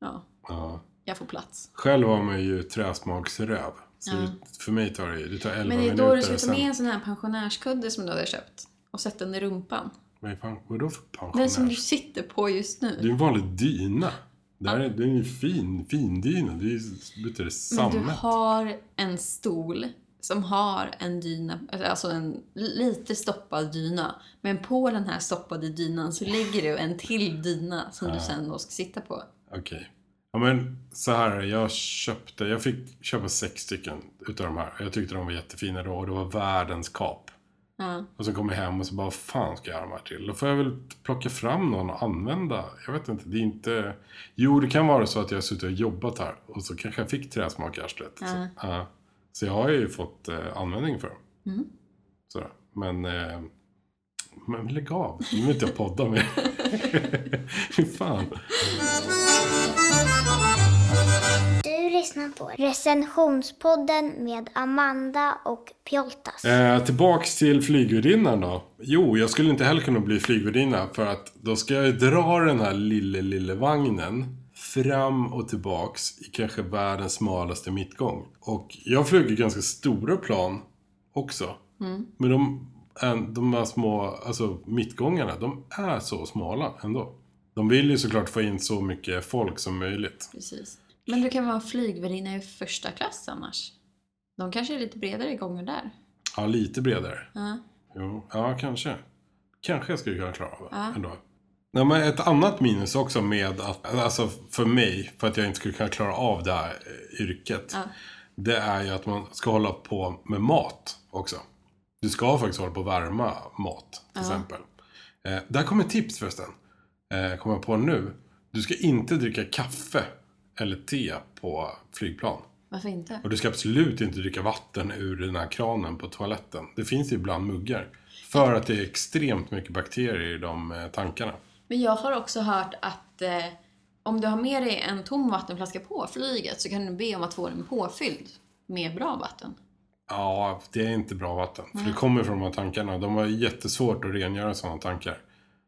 [SPEAKER 3] Ja,
[SPEAKER 1] Ja.
[SPEAKER 3] jag får plats.
[SPEAKER 1] Själv har man ju träsmaksröv. Så
[SPEAKER 3] Ja.
[SPEAKER 1] det- för mig tar det ju, det tar 11
[SPEAKER 3] Men det är
[SPEAKER 1] minuter.
[SPEAKER 3] då du ska
[SPEAKER 1] och
[SPEAKER 3] ta med en sån här pensionärskudde som du hade köpt och sätta den i rumpan.
[SPEAKER 1] Vad fan, vadå för
[SPEAKER 3] Den som du
[SPEAKER 1] pensionärs?
[SPEAKER 3] sitter på just
[SPEAKER 1] Det är
[SPEAKER 3] nu.
[SPEAKER 1] en vanlig dyna. Det här är, det är ju fin, fin dyna. Det är ju betyder
[SPEAKER 3] Men du
[SPEAKER 1] sammet.
[SPEAKER 3] har en stol som har en dyna, alltså en lite stoppad dyna. Men på den här stoppade dynan så lägger du en till dyna som du sen då ska sitta på.
[SPEAKER 1] Okej. Ja men så här är det. jag köpte, jag fick köpa sex stycken utav de här. Jag tyckte de var jättefina då och det var världens kap.
[SPEAKER 3] Ja.
[SPEAKER 1] Och sen kom jag hem och så bara, vad fan ska jag göra de här till? Då får jag väl plocka fram någon och använda. Jag vet inte, det är inte... Jo, det kan vara så att jag har suttit och jobbat här och så kanske jag fick träsmak i arslet.
[SPEAKER 3] Ja.
[SPEAKER 1] Så, ja. så jag har ju fått eh, användning för dem.
[SPEAKER 3] Mm.
[SPEAKER 1] Sådär. Men, eh, men lägg av, nu vill inte jag podda mer. Fy fan.
[SPEAKER 4] Du lyssnar på recensionspodden med Amanda och Pjoltas.
[SPEAKER 1] Eh, tillbaks till flygvärdinnan då. Jo, jag skulle inte heller kunna bli flygvärdinna för att då ska jag ju dra den här lille, lille vagnen fram och tillbaks i kanske världens smalaste mittgång. Och jag flyger ganska stora plan också. Men de, en- de här små, alltså mittgångarna, de är så smala ändå. De vill ju såklart få in så mycket folk som möjligt.
[SPEAKER 3] Precis. Men du kan vara flygvärdinna i första klass annars. De kanske är lite bredare gånger där.
[SPEAKER 1] Ja, lite bredare.
[SPEAKER 3] Ja.
[SPEAKER 1] Jo, ja kanske. Kanske jag skulle kunna klara av det
[SPEAKER 3] Ja.
[SPEAKER 1] ändå. Nej, men ett annat minus också med att, alltså för mig, för att jag inte skulle kunna klara av det här eh, yrket.
[SPEAKER 3] Ja.
[SPEAKER 1] Det är ju att man ska hålla på med mat också. Du ska faktiskt hålla på och värma mat till exempel. Eh, där kommer ett tips förresten. Eh, kommer jag på nu. Du ska inte dricka kaffe eller te på flygplan.
[SPEAKER 3] Varför inte?
[SPEAKER 1] Och du ska absolut inte dricka vatten ur den här kranen på toaletten. Det finns ju ibland muggar. För att det är extremt mycket bakterier i de eh, tankarna.
[SPEAKER 3] Men jag har också hört att eh, om du har med dig en tom vattenflaska på flyget så kan du be om att få den påfylld med bra vatten.
[SPEAKER 1] Ja, det är inte bra vatten. För det kommer från de här tankarna. De har jättesvårt att rengöra sådana tankar.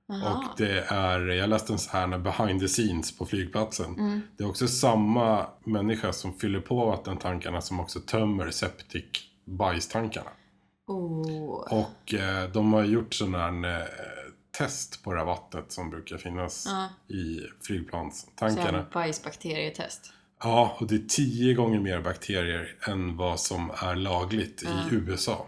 [SPEAKER 1] Och
[SPEAKER 3] Jaha.
[SPEAKER 1] det är, jag läste en sån här behind the scenes på flygplatsen. Det är också samma människa som fyller på vattentankarna som också tömmer septic bajstankarna.
[SPEAKER 3] Oh.
[SPEAKER 1] Och eh, de har gjort sån här eh, test på det här vattnet som brukar finnas
[SPEAKER 3] Ja.
[SPEAKER 1] i
[SPEAKER 3] Så
[SPEAKER 1] flygplanstankarna.
[SPEAKER 3] här bajsbakterietest.
[SPEAKER 1] Ja, och det är tio gånger mer bakterier än vad som är lagligt i USA.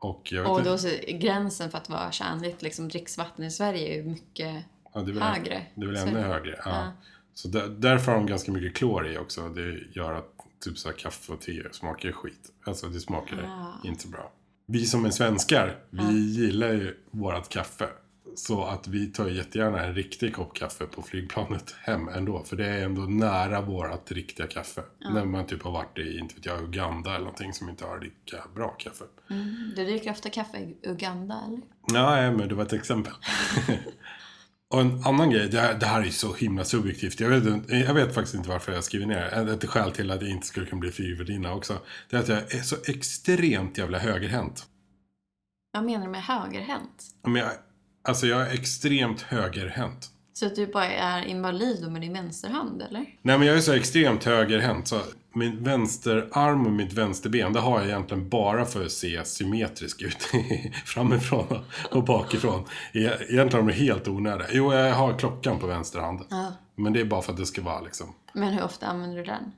[SPEAKER 1] Och jag vet
[SPEAKER 3] Och
[SPEAKER 1] inte,
[SPEAKER 3] då så, gränsen för att vara tjänligt liksom, dricksvatten i Sverige är ju mycket...
[SPEAKER 1] ja, det är väl,
[SPEAKER 3] högre.
[SPEAKER 1] Det är väl
[SPEAKER 3] Så-
[SPEAKER 1] ännu högre. Ja.
[SPEAKER 3] Ja.
[SPEAKER 1] Så där, därför har de ganska mycket klor i också. Det gör att typ så här kaffe och te smakar ju skit. Alltså det smakar
[SPEAKER 3] Ah.
[SPEAKER 1] inte bra. Vi som är svenskar, vi gillar ju vårat kaffe. Så att vi tar ju jättegärna en riktig kopp kaffe på flygplanet hem ändå. För det är ändå nära vårat riktiga kaffe. När man typ har varit i, inte vet jag, Uganda eller någonting som inte har lika bra kaffe.
[SPEAKER 3] Du dricker ofta kaffe i Uganda, eller?
[SPEAKER 1] Nej, men det var ett exempel. Och en annan grej, det här, det här är ju så himla subjektivt. Jag vet, inte- jag vet faktiskt inte varför jag skriver ner det. Ett skäl till att jag inte skulle kunna bli flygvärdinna också. Det är att jag är så extremt jävla högerhänt.
[SPEAKER 3] Vad menar du med högerhänt?
[SPEAKER 1] Men jag, alltså jag är extremt högerhänt.
[SPEAKER 3] Så att du bara är invalid då med din vänsterhand, eller?
[SPEAKER 1] Nej men jag är så extremt högerhänt så min vänsterarm och mitt vänsterben det har jag egentligen bara för att se symmetrisk ut framifrån och bakifrån. E- Egentligen är de helt onödiga. Jo, jag har klockan på vänster hand.
[SPEAKER 3] Ja.
[SPEAKER 1] Men det är bara för att det ska vara liksom
[SPEAKER 3] Men hur ofta använder du den?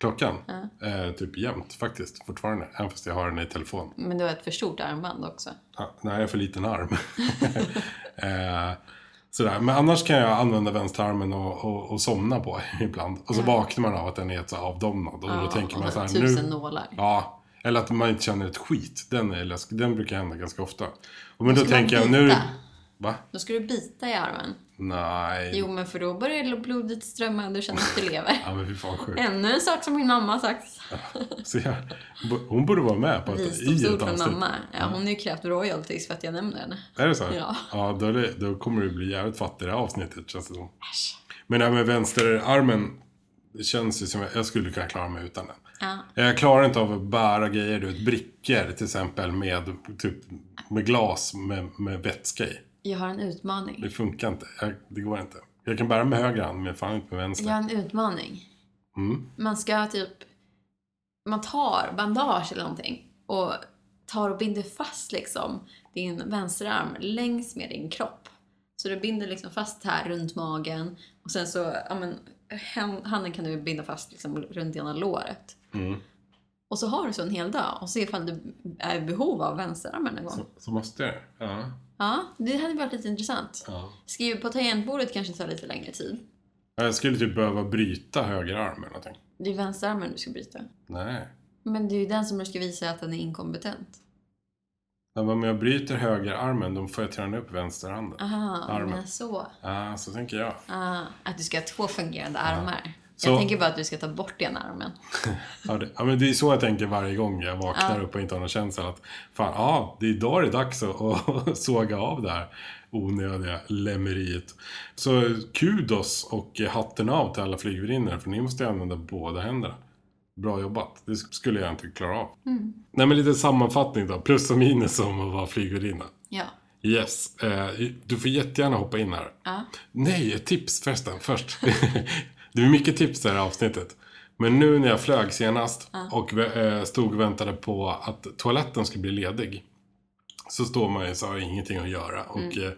[SPEAKER 1] klockan. Eh, typ jämt faktiskt fortfarande. Även fast jag har den i telefon.
[SPEAKER 3] Men du har ett för stort armband också.
[SPEAKER 1] Ja, Nej, jag har för liten arm. eh, sådär. Men annars kan jag använda vänsterarmen och, och, och somna på ibland. Och så vaknar man av att den är så avdomnad. Och då
[SPEAKER 3] Ja,
[SPEAKER 1] tänker man
[SPEAKER 3] och
[SPEAKER 1] så här,
[SPEAKER 3] tusen
[SPEAKER 1] nu...
[SPEAKER 3] nålar.
[SPEAKER 1] Ja, eller att man inte känner ett skit. Den, är läsk... den brukar hända ganska ofta. Och men då
[SPEAKER 3] ska man
[SPEAKER 1] tänker jag nu...
[SPEAKER 3] bita.
[SPEAKER 1] Va?
[SPEAKER 3] Då ska du bita i
[SPEAKER 1] Mm.
[SPEAKER 3] armen.
[SPEAKER 1] Nej.
[SPEAKER 3] Jo, men för då börjar blodet strömma och du känner att du lever.
[SPEAKER 1] Ja men fy fan sjukt.
[SPEAKER 3] Ännu en sak som min mamma har sagt.
[SPEAKER 1] Så jag, hon borde vara med på ett, i
[SPEAKER 3] Visdomsord
[SPEAKER 1] ett
[SPEAKER 3] från
[SPEAKER 1] avsnitt.
[SPEAKER 3] mamma. Ja, hon har ju krävt royalties för att jag nämner henne.
[SPEAKER 1] Är det så?
[SPEAKER 3] Ja.
[SPEAKER 1] ja då, är det- då kommer du bli jävligt fattig i det här avsnittet känns det som.
[SPEAKER 3] Äsch.
[SPEAKER 1] Men det här med vänsterarmen det känns ju som jag, jag skulle kunna klara mig utan den.
[SPEAKER 3] Ja.
[SPEAKER 1] Jag klarar inte av att bära grejer, du vet, brickor till exempel med, typ, med glas med, med vätska i.
[SPEAKER 3] Jag har en
[SPEAKER 1] Det
[SPEAKER 3] utmaning.
[SPEAKER 1] funkar inte. Jag, det går inte. Jag kan bära med höger hand, men fan inte med vänster.
[SPEAKER 3] Jag har en utmaning.
[SPEAKER 1] Mm.
[SPEAKER 3] Man ska typ... Man tar bandage eller någonting och tar och binder fast liksom din vänsterarm längs med din kropp. Så du binder liksom fast här runt magen och sen så, ja men, hän- handen kan du binda fast liksom runt ena låret.
[SPEAKER 1] Mm.
[SPEAKER 3] Och så har du så en hel dag och se ifall du är i behov av vänsterarmen en gång.
[SPEAKER 1] Så, så måste jag det. Ja.
[SPEAKER 3] Ja, det hade varit lite intressant.
[SPEAKER 1] ja.
[SPEAKER 3] Skriv på tangentbordet kanske tar lite längre tid.
[SPEAKER 1] Jag skulle typ behöva bryta höger arm eller någonting.
[SPEAKER 3] Det är vänsterarmen du ska bryta.
[SPEAKER 1] Nej.
[SPEAKER 3] Men det är ju den som du ska visa att den är inkompetent.
[SPEAKER 1] Men om jag bryter höger armen, då får jag träna upp vänsterhanden.
[SPEAKER 3] Aha,
[SPEAKER 1] Armen.
[SPEAKER 3] men så.
[SPEAKER 1] Ja, så tänker jag.
[SPEAKER 3] Ah, att du ska ha två fungerande armar.
[SPEAKER 1] Så-
[SPEAKER 3] Jag tänker bara att du ska ta bort den armen.
[SPEAKER 1] Ja, det, ja, men det är så jag tänker varje gång jag vaknar
[SPEAKER 3] Ja.
[SPEAKER 1] upp och inte har någon känsla. Att, fan, ja, det är idag det är dags att, att såga av det här onödiga lämmeriet. Så kudos och hatten av till alla flygvärdinnor, för ni måste ju använda båda händerna. Bra jobbat. Det skulle jag inte klara av. Nej, men lite sammanfattning då. Plus och minus om att vara flygvärdinna.
[SPEAKER 3] Ja.
[SPEAKER 1] Yes. Eh, du får jättegärna hoppa in här.
[SPEAKER 3] Ja.
[SPEAKER 1] Nej, ett tips förresten. Först. det är mycket tips det här avsnittet. Men nu när jag flög senast och vä- eh, stod och väntade på att toaletten skulle bli ledig. Så står man ju så har ingenting att göra och
[SPEAKER 3] Mm.
[SPEAKER 1] eh,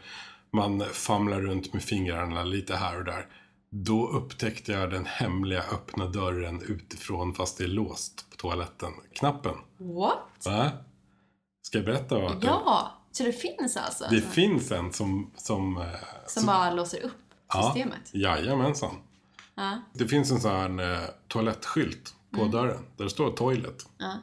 [SPEAKER 1] man famlar runt med fingrarna lite här och där. Då upptäckte jag den hemliga öppna dörren utifrån fast det är låst på toaletten-knappen.
[SPEAKER 3] What?
[SPEAKER 1] Va? Ska jag berätta vad det
[SPEAKER 3] Ja, så det finns alltså?
[SPEAKER 1] det finns en som... Som, eh,
[SPEAKER 3] Som bara låser upp systemet?
[SPEAKER 1] Ja, jajamensan.
[SPEAKER 3] Ja.
[SPEAKER 1] Det finns en sån här eh, toalettskylt på dörren. Där det står toilet.
[SPEAKER 3] Mm. Ja.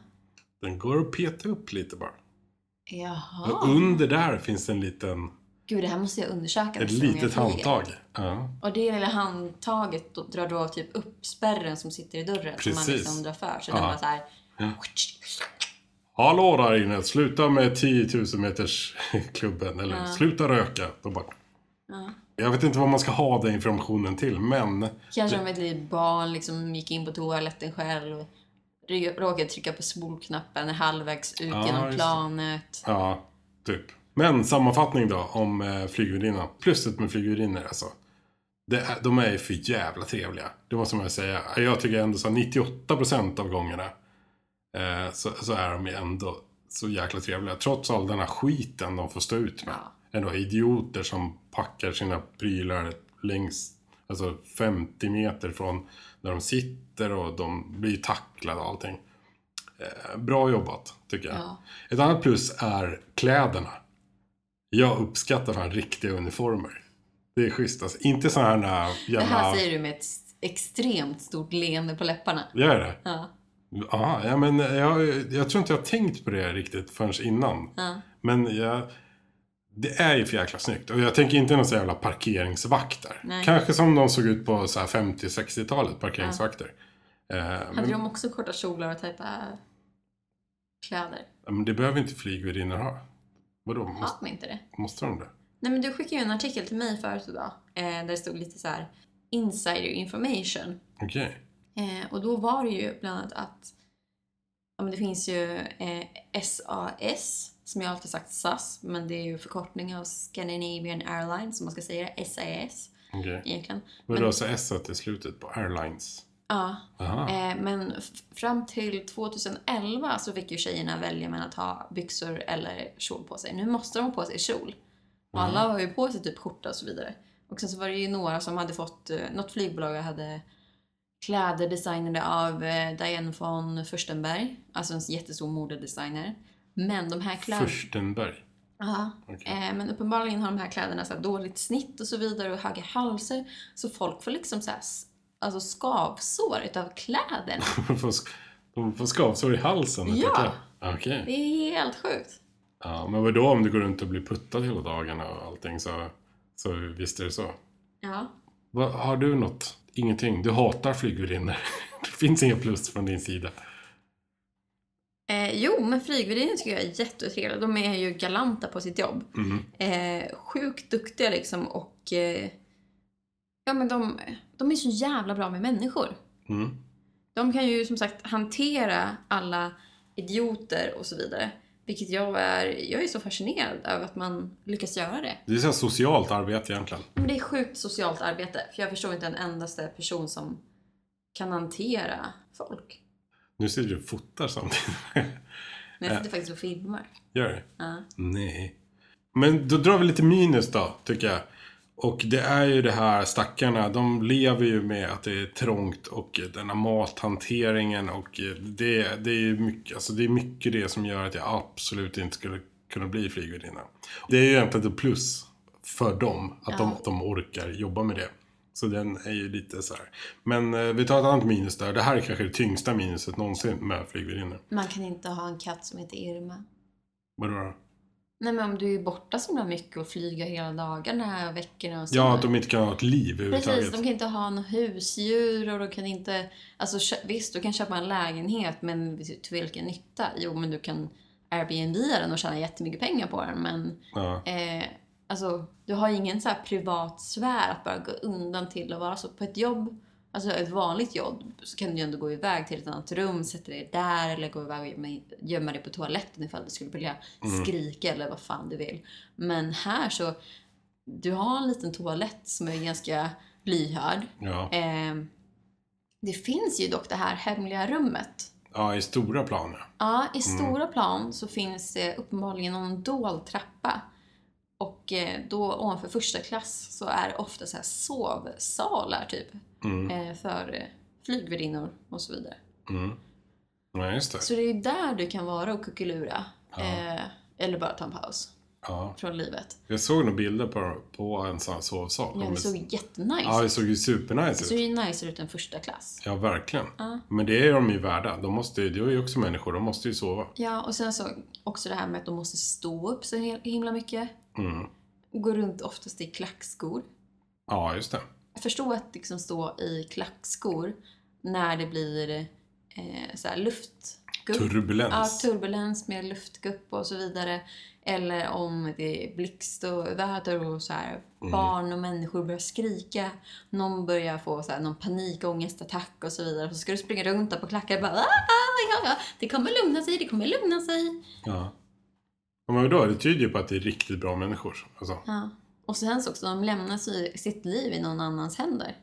[SPEAKER 1] Den går att peta upp lite bara. Och
[SPEAKER 3] Jaha.
[SPEAKER 1] under där finns en liten,
[SPEAKER 3] Gud, det här måste jag undersöka.
[SPEAKER 1] ett
[SPEAKER 3] nästa gång jag
[SPEAKER 1] litet
[SPEAKER 3] flyger.
[SPEAKER 1] handtag. Ja.
[SPEAKER 3] Och det lilla handtaget då drar då typ upp spärren som sitter i dörren som man
[SPEAKER 1] Precis.
[SPEAKER 3] liksom drar för. Så
[SPEAKER 1] Ja.
[SPEAKER 3] den bara så här...
[SPEAKER 1] Hallå där inne, sluta med 10 000 meters klubben eller sluta röka. Då bara... Jag vet inte vad man ska ha den informationen till, men
[SPEAKER 3] Kanske om ett litet barn liksom gick in på toaletten själv. ry- Råkade trycka på spolknappen halvvägs ut
[SPEAKER 1] Ja, just
[SPEAKER 3] genom
[SPEAKER 1] det.
[SPEAKER 3] planet.
[SPEAKER 1] Ja, typ. Men sammanfattning då om eh, flygvärdinnan. Plusset med flygvärdinnor alltså. Det är, de är ju för jävla trevliga. Det måste man ju säga. Jag tycker ändå så här 98% av gångerna eh, så, så är de ju ändå så jäkla trevliga. Trots all den här skiten de får stå ut med. Ändå idioter som packar sina prylar längs, alltså 50 meter från där de sitter och de blir tacklade och allting. Eh, bra jobbat, tycker jag.
[SPEAKER 3] Ja.
[SPEAKER 1] Ett annat plus är kläderna. Jag uppskattar fan riktiga uniformer. Det är schysst alltså. Inte sådana här
[SPEAKER 3] Det
[SPEAKER 1] jävla...
[SPEAKER 3] här säger du med ett s- extremt stort leende på läpparna.
[SPEAKER 1] Gör jag det?
[SPEAKER 3] Ja.
[SPEAKER 1] Aha, ja, men jag, jag tror inte jag har tänkt på det riktigt förrän innan.
[SPEAKER 3] Ja.
[SPEAKER 1] Men jag, Det är ju för jäkla snyggt. Och jag tänker inte någon så jävla parkeringsvakter.
[SPEAKER 3] Nej.
[SPEAKER 1] Kanske som de såg ut på så här 50-60-talet, parkeringsvakter. Eh,
[SPEAKER 3] Hade
[SPEAKER 1] men,
[SPEAKER 3] de också korta kjolar och tajta kläder?
[SPEAKER 1] men det behöver inte flygvärdinnor ha. Vadå,
[SPEAKER 3] Har
[SPEAKER 1] måste,
[SPEAKER 3] de inte det?
[SPEAKER 1] måste de det?
[SPEAKER 3] Nej men du skickade ju en artikel till mig förut idag eh, där det stod lite så här insider information.
[SPEAKER 1] Okej.
[SPEAKER 3] Eh, och då var det ju bland annat att ja, men det finns ju eh, SAS som jag alltid sagt SAS men det är ju förkortning av Scandinavian Airlines som man ska säga det, SAS
[SPEAKER 1] Okej.
[SPEAKER 3] egentligen.
[SPEAKER 1] Vadå, så S till slutet på airlines?
[SPEAKER 3] Ja,
[SPEAKER 1] Aha.
[SPEAKER 3] eh, men f- fram till 2011 så fick ju tjejerna välja mellan att ha byxor eller kjol på sig. Nu måste de ha på sig kjol. Och alla har ju på sig typ skjorta och så vidare. Och sen så var det ju några som hade fått, eh, något flygbolag hade kläder designade av eh, Diane von Furstenberg, alltså en jättestor modedesigner. Men de här kläderna...
[SPEAKER 1] Furstenberg.
[SPEAKER 3] Ja,
[SPEAKER 1] Okej.
[SPEAKER 3] eh, men uppenbarligen har de här kläderna så här dåligt snitt och så vidare och höga halser. Så folk får liksom så här, s- alltså skavsår utav kläderna.
[SPEAKER 1] De får sk- De får skavsår i halsen. utav
[SPEAKER 3] Ja.
[SPEAKER 1] kläder. Okej.
[SPEAKER 3] Det är helt sjukt.
[SPEAKER 1] Ja, men vadå om du går runt och blir puttad hela dagen och allting så, så visst är det så.
[SPEAKER 3] Ja.
[SPEAKER 1] Va, har du något? Ingenting. Du hatar flygvärdinnor. Det finns inga plus från din sida.
[SPEAKER 3] Eh, jo, men flygvärdinnor tycker jag är jättetrevliga. De är ju galanta på sitt jobb. Eh, sjukt duktiga liksom och... Eh, ja, men de, de är så jävla bra med människor.
[SPEAKER 1] Mm.
[SPEAKER 3] De kan ju som sagt hantera alla idioter och så vidare. Vilket jag är, jag är så fascinerad över att man lyckas göra det.
[SPEAKER 1] Det är så här socialt arbete egentligen.
[SPEAKER 3] Men det är sjukt socialt arbete. För jag förstår inte en endaste person som kan hantera folk.
[SPEAKER 1] Nu sitter du och fotar samtidigt.
[SPEAKER 3] Men jag sitter faktiskt och filmar.
[SPEAKER 1] Gör det?
[SPEAKER 3] Ja.
[SPEAKER 1] Nej. Men då drar vi lite minus då, tycker jag. Och det är ju det här stackarna, de lever ju med att det är trångt och den här mathanteringen och det, det, är, ju mycket, alltså det är mycket det som gör att jag absolut inte skulle kunna bli flygvärdinna. Det är ju egentligen ett plus för dem, att de, de orkar jobba med det. Så den är ju lite så här. Men eh, vi tar ett annat minus där. Det här är kanske det tyngsta minuset någonsin med flygvärdinnor.
[SPEAKER 3] Man kan inte ha en katt som heter Irma.
[SPEAKER 1] Vadå då?
[SPEAKER 3] Nej men om du är borta så himla mycket och flyger hela dagarna och veckorna och så.
[SPEAKER 1] Ja, att de inte kan ha ett liv överhuvudtaget.
[SPEAKER 3] Precis, de kan inte ha något husdjur och de kan inte... Alltså kö- visst, du kan köpa en lägenhet men till vilken nytta? Jo, men du kan Airbnb den och tjäna jättemycket pengar på den men...
[SPEAKER 1] Ja.
[SPEAKER 3] Eh, alltså, du har ingen så här privat sfär att bara gå undan till och vara så. På ett jobb, alltså ett vanligt jobb, så kan du ju ändå gå iväg till ett annat rum, sätta dig där eller gå iväg och gömma, gömma dig på toaletten ifall du skulle vilja skrika eller vad fan du vill. Men här så, du har en liten toalett som är ganska lyhörd.
[SPEAKER 1] Ja.
[SPEAKER 3] Eh, det finns ju dock det här hemliga rummet.
[SPEAKER 1] ja, i stora planer.
[SPEAKER 3] Ja, i
[SPEAKER 1] Mm.
[SPEAKER 3] stora plan så finns det uppenbarligen någon dold trappa. Och eh, då ovanför första klass så är det ofta så här sovsalar typ.
[SPEAKER 1] Mm.
[SPEAKER 3] eh, För eh, flygvärdinnor och så vidare.
[SPEAKER 1] Ja, just det.
[SPEAKER 3] Så det är ju där du kan vara och kuckelura. Eh, eller bara ta en paus
[SPEAKER 1] Ja.
[SPEAKER 3] från livet.
[SPEAKER 1] Jag såg några bilder på, på en sån här sovsal.
[SPEAKER 3] Ja, det såg jättenice
[SPEAKER 1] ja,
[SPEAKER 3] ut.
[SPEAKER 1] det såg ju
[SPEAKER 3] Det
[SPEAKER 1] supernice
[SPEAKER 3] såg
[SPEAKER 1] ut.
[SPEAKER 3] ju nicer ut än första klass.
[SPEAKER 1] Ja, verkligen. Men det är de ju värda. De måste ju, det är ju också människor, de måste ju sova.
[SPEAKER 3] Ja, och sen så också det här med att de måste stå upp så hel- himla mycket.
[SPEAKER 1] Mm.
[SPEAKER 3] Gå runt oftast i klackskor.
[SPEAKER 1] Ja, just det.
[SPEAKER 3] förstå att liksom stå i klackskor när det blir eh, så här luftgupp.
[SPEAKER 1] Turbulens.
[SPEAKER 3] Ja, turbulens med luftgupp och så vidare. Eller om det är blixt och väder och så här, barn och människor börjar skrika. Någon börjar få så här, någon panikångestattack och så vidare. Så ska du springa runt där på klackar och bara ah, ah, ja, ja. Det kommer lugna sig, det kommer lugna sig.
[SPEAKER 1] Ja. Ja, Men då, det tyder ju på att det är riktigt bra människor. Alltså.
[SPEAKER 3] Ja. Och sen så också, de lämnar sig, sitt liv i någon annans händer.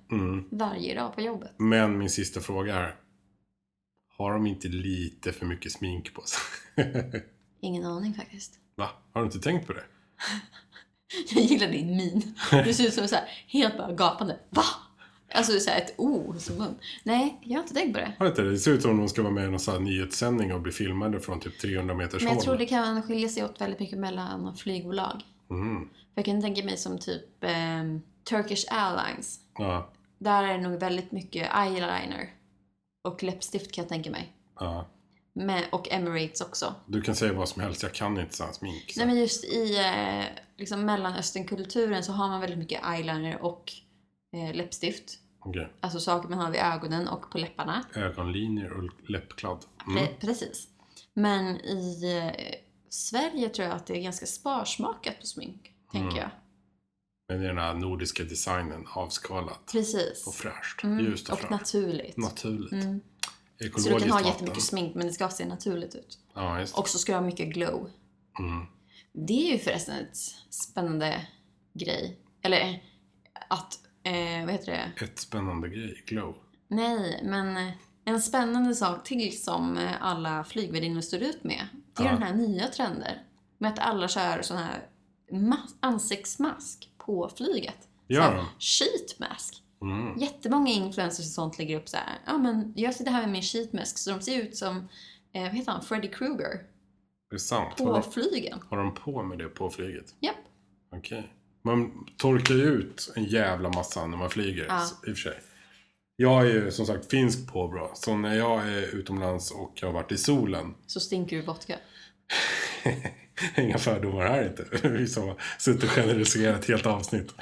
[SPEAKER 3] Varje dag på jobbet.
[SPEAKER 1] mm. Men min sista fråga är. Har de inte lite för mycket smink på sig?
[SPEAKER 3] Ingen aning faktiskt.
[SPEAKER 1] Va? Har du inte tänkt på det?
[SPEAKER 3] Jag gillar din min. Du ser ut som så här, helt bara gapande. Va? Alltså så här ett O som mun. Nej, jag har inte tänkt på det.
[SPEAKER 1] Har du inte det? Det ser ut som om de ska vara med i någon sån här nyhetssändning och bli filmade från typ 300 meters
[SPEAKER 3] Men jag tror
[SPEAKER 1] håll.
[SPEAKER 3] det kan skilja sig åt väldigt mycket mellan flygbolag.
[SPEAKER 1] Mm.
[SPEAKER 3] För jag kan tänka mig som typ ehm, Turkish Airlines.
[SPEAKER 1] Ja,
[SPEAKER 3] Där är det nog väldigt mycket eyeliner. Och läppstift kan jag tänka mig.
[SPEAKER 1] ja.
[SPEAKER 3] Med, och Emirates också.
[SPEAKER 1] Du kan säga vad som helst, jag kan inte sån smink. Så.
[SPEAKER 3] Nej men just i eh, liksom mellanösternkulturen så har man väldigt mycket eyeliner och eh, läppstift.
[SPEAKER 1] Okej.
[SPEAKER 3] Alltså saker man har vid ögonen och på läpparna.
[SPEAKER 1] Ögonlinjer och läppkladd.
[SPEAKER 3] Pre-
[SPEAKER 1] Mm.
[SPEAKER 3] Eh, Precis. Men i eh, Sverige tror jag att det är ganska sparsmakat på smink.
[SPEAKER 1] Mm.
[SPEAKER 3] Tänker jag.
[SPEAKER 1] Men det är den här nordiska designen avskalat och
[SPEAKER 3] Precis.
[SPEAKER 1] fräscht.
[SPEAKER 3] Mm,
[SPEAKER 1] Ljust och,
[SPEAKER 3] och
[SPEAKER 1] fräscht.
[SPEAKER 3] naturligt.
[SPEAKER 1] Naturligt.
[SPEAKER 3] Mm. Så
[SPEAKER 1] Ekologiskt
[SPEAKER 3] du kan ha
[SPEAKER 1] vatten.
[SPEAKER 3] jättemycket smink men det ska se naturligt ut.
[SPEAKER 1] Ja, just det.
[SPEAKER 3] Och så ska du ha mycket glow.
[SPEAKER 1] Mm.
[SPEAKER 3] Det är ju förresten ett spännande grej. Eller eh, att, eh, vad heter det?
[SPEAKER 1] Ett spännande grej, glow.
[SPEAKER 3] Nej, men eh, en spännande sak till som eh, alla flygvärdinnor står ut med. Det är
[SPEAKER 1] Ja.
[SPEAKER 3] den här nya trenden. Med att alla kör sån här mas- ansiktsmask på flyget.
[SPEAKER 1] Gör
[SPEAKER 3] Sån här
[SPEAKER 1] de?
[SPEAKER 3] Sheet mask.
[SPEAKER 1] Mm.
[SPEAKER 3] Jättemånga influencers och sånt lägger upp så här. Ja, men jag sitter här med min sheet mask. Så de ser ut som, eh, vad heter han, Freddy Krueger.
[SPEAKER 1] Det är sant.
[SPEAKER 3] På
[SPEAKER 1] Har de,
[SPEAKER 3] flygen.
[SPEAKER 1] har de på med det på flyget?
[SPEAKER 3] Japp.
[SPEAKER 1] Okej. Man torkar ju ut en jävla massa när man flyger.
[SPEAKER 3] Ja.
[SPEAKER 1] så- I och för sig. Jag är ju som sagt finsk påbrå. Så när jag är utomlands och jag har varit i solen.
[SPEAKER 3] Så stinker du vodka.
[SPEAKER 1] Inga fördomar här inte. Vi som har suttit och generaliserat helt avsnitt.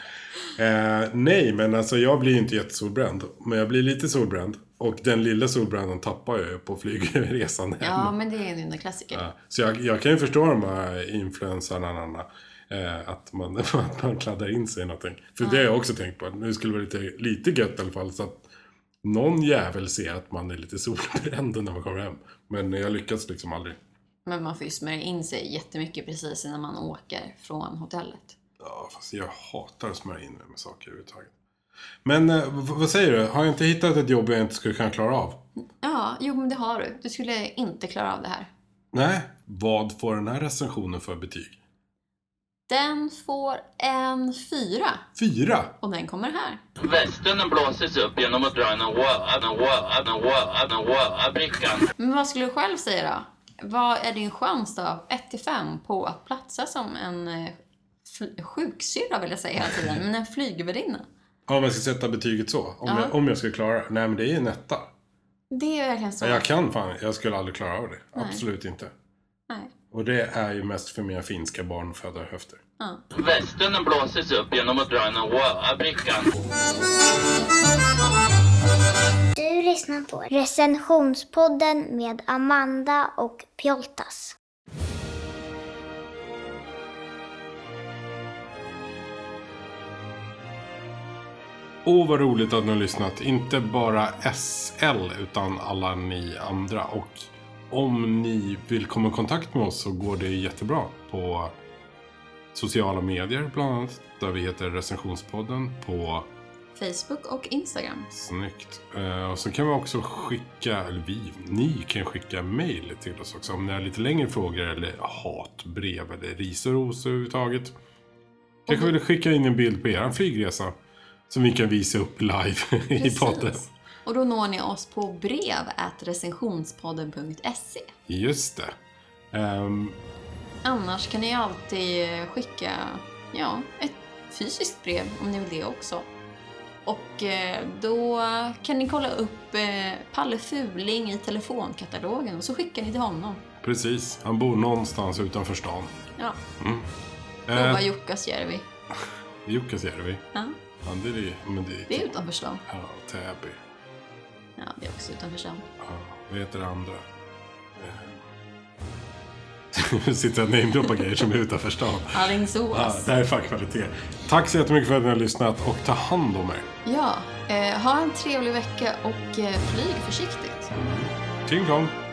[SPEAKER 1] Eh, nej, men alltså jag blir inte jättesolbränd. Men jag blir lite solbränd. Och den lilla solbränden tappar jag ju på flygresan hem.
[SPEAKER 3] Ja, men det är en av dina klassiker.
[SPEAKER 1] Ja, Så jag, jag kan ju förstå de här influensarna Nanna, eh, att, man, att man kladdar in sig i någonting. För det har jag också tänkt på. Nu skulle det vara lite, lite gött i alla fall. Så att någon jävel ser att man är lite solbränd när man kommer hem. Men jag lyckas liksom aldrig.
[SPEAKER 3] Men man får ju smörja in sig jättemycket precis innan man åker från hotellet.
[SPEAKER 1] Ja, fast jag hatar att smörja in mig med saker överhuvudtaget. Men eh, v- vad säger du? Har jag inte hittat ett jobb jag inte skulle kunna klara av?
[SPEAKER 3] Ja, jo men det har du. Du skulle inte klara av det här.
[SPEAKER 1] Nej. Vad får den här recensionen för betyg?
[SPEAKER 3] Den får en fyra.
[SPEAKER 1] Fyra!
[SPEAKER 3] Och den kommer här.
[SPEAKER 6] Västen den blåses upp genom att dra en wad, en wad, en wad, en wad-brickan.
[SPEAKER 3] Men vad skulle du själv säga då? Vad är din chans då, 1 till 5, på att platsa som en eh, fl- sjuksyrra vill jag säga hela tiden, men en flygvärdinna?
[SPEAKER 1] Ja, om jag ska sätta betyget så. Om,
[SPEAKER 3] Ja.
[SPEAKER 1] jag, om jag ska klara Nej, men det är en etta.
[SPEAKER 3] Det är verkligen så.
[SPEAKER 1] Men jag kan fan Jag skulle aldrig klara av det.
[SPEAKER 3] Nej.
[SPEAKER 1] Absolut inte.
[SPEAKER 3] Nej.
[SPEAKER 1] Och det är ju mest för mina finska barn födda höfter.
[SPEAKER 3] Ja.
[SPEAKER 6] Västen den blåses upp genom att dra en wad-brickan.
[SPEAKER 4] Du lyssnar på recensionspodden med Amanda och Pjoltas.
[SPEAKER 1] Åh, vad roligt att ni har lyssnat. Inte bara SL, utan alla ni andra. Och om ni vill komma i kontakt med oss så går det jättebra på sociala medier, bland annat. Där vi heter Recensionspodden på
[SPEAKER 3] Facebook och Instagram.
[SPEAKER 1] Snyggt. Eh, Och så kan vi också skicka, eller vi, ni kan skicka mejl till oss också om ni har lite längre frågor eller hatbrev eller ris och ros överhuvudtaget. Kanske vill skicka in en bild på er flygresa som vi kan visa upp live i podden.
[SPEAKER 3] Och då når ni oss på brev recensionspodden.se.
[SPEAKER 1] Just det. Ehm,
[SPEAKER 3] Annars kan ni alltid eh, skicka ja, ett fysiskt brev om ni vill det också. Och eh, då kan ni kolla upp eh, Palle Fuling i telefonkatalogen och så skickar ni till honom.
[SPEAKER 1] precis, han bor någonstans utanför stan.
[SPEAKER 3] Ja,
[SPEAKER 1] Eh,
[SPEAKER 3] prova Jukkasjärvi.
[SPEAKER 1] Jukkasjärvi.
[SPEAKER 3] Ja,
[SPEAKER 1] Ja, det är det. Men det är,
[SPEAKER 3] det är utanför stan.
[SPEAKER 1] Ja, Täby.
[SPEAKER 3] Ja, det är också utanför stan.
[SPEAKER 1] Ja, vad heter det andra? Eh, Nu sitter jag och namedroppar grejer som är utanför stan. Ja,
[SPEAKER 3] Alingsås.
[SPEAKER 1] det här är fan kvalitet. Tack så jättemycket för att ni har lyssnat och ta hand om er.
[SPEAKER 3] Ja, eh, ha en trevlig vecka och eh, flyg försiktigt.
[SPEAKER 1] Ting dong!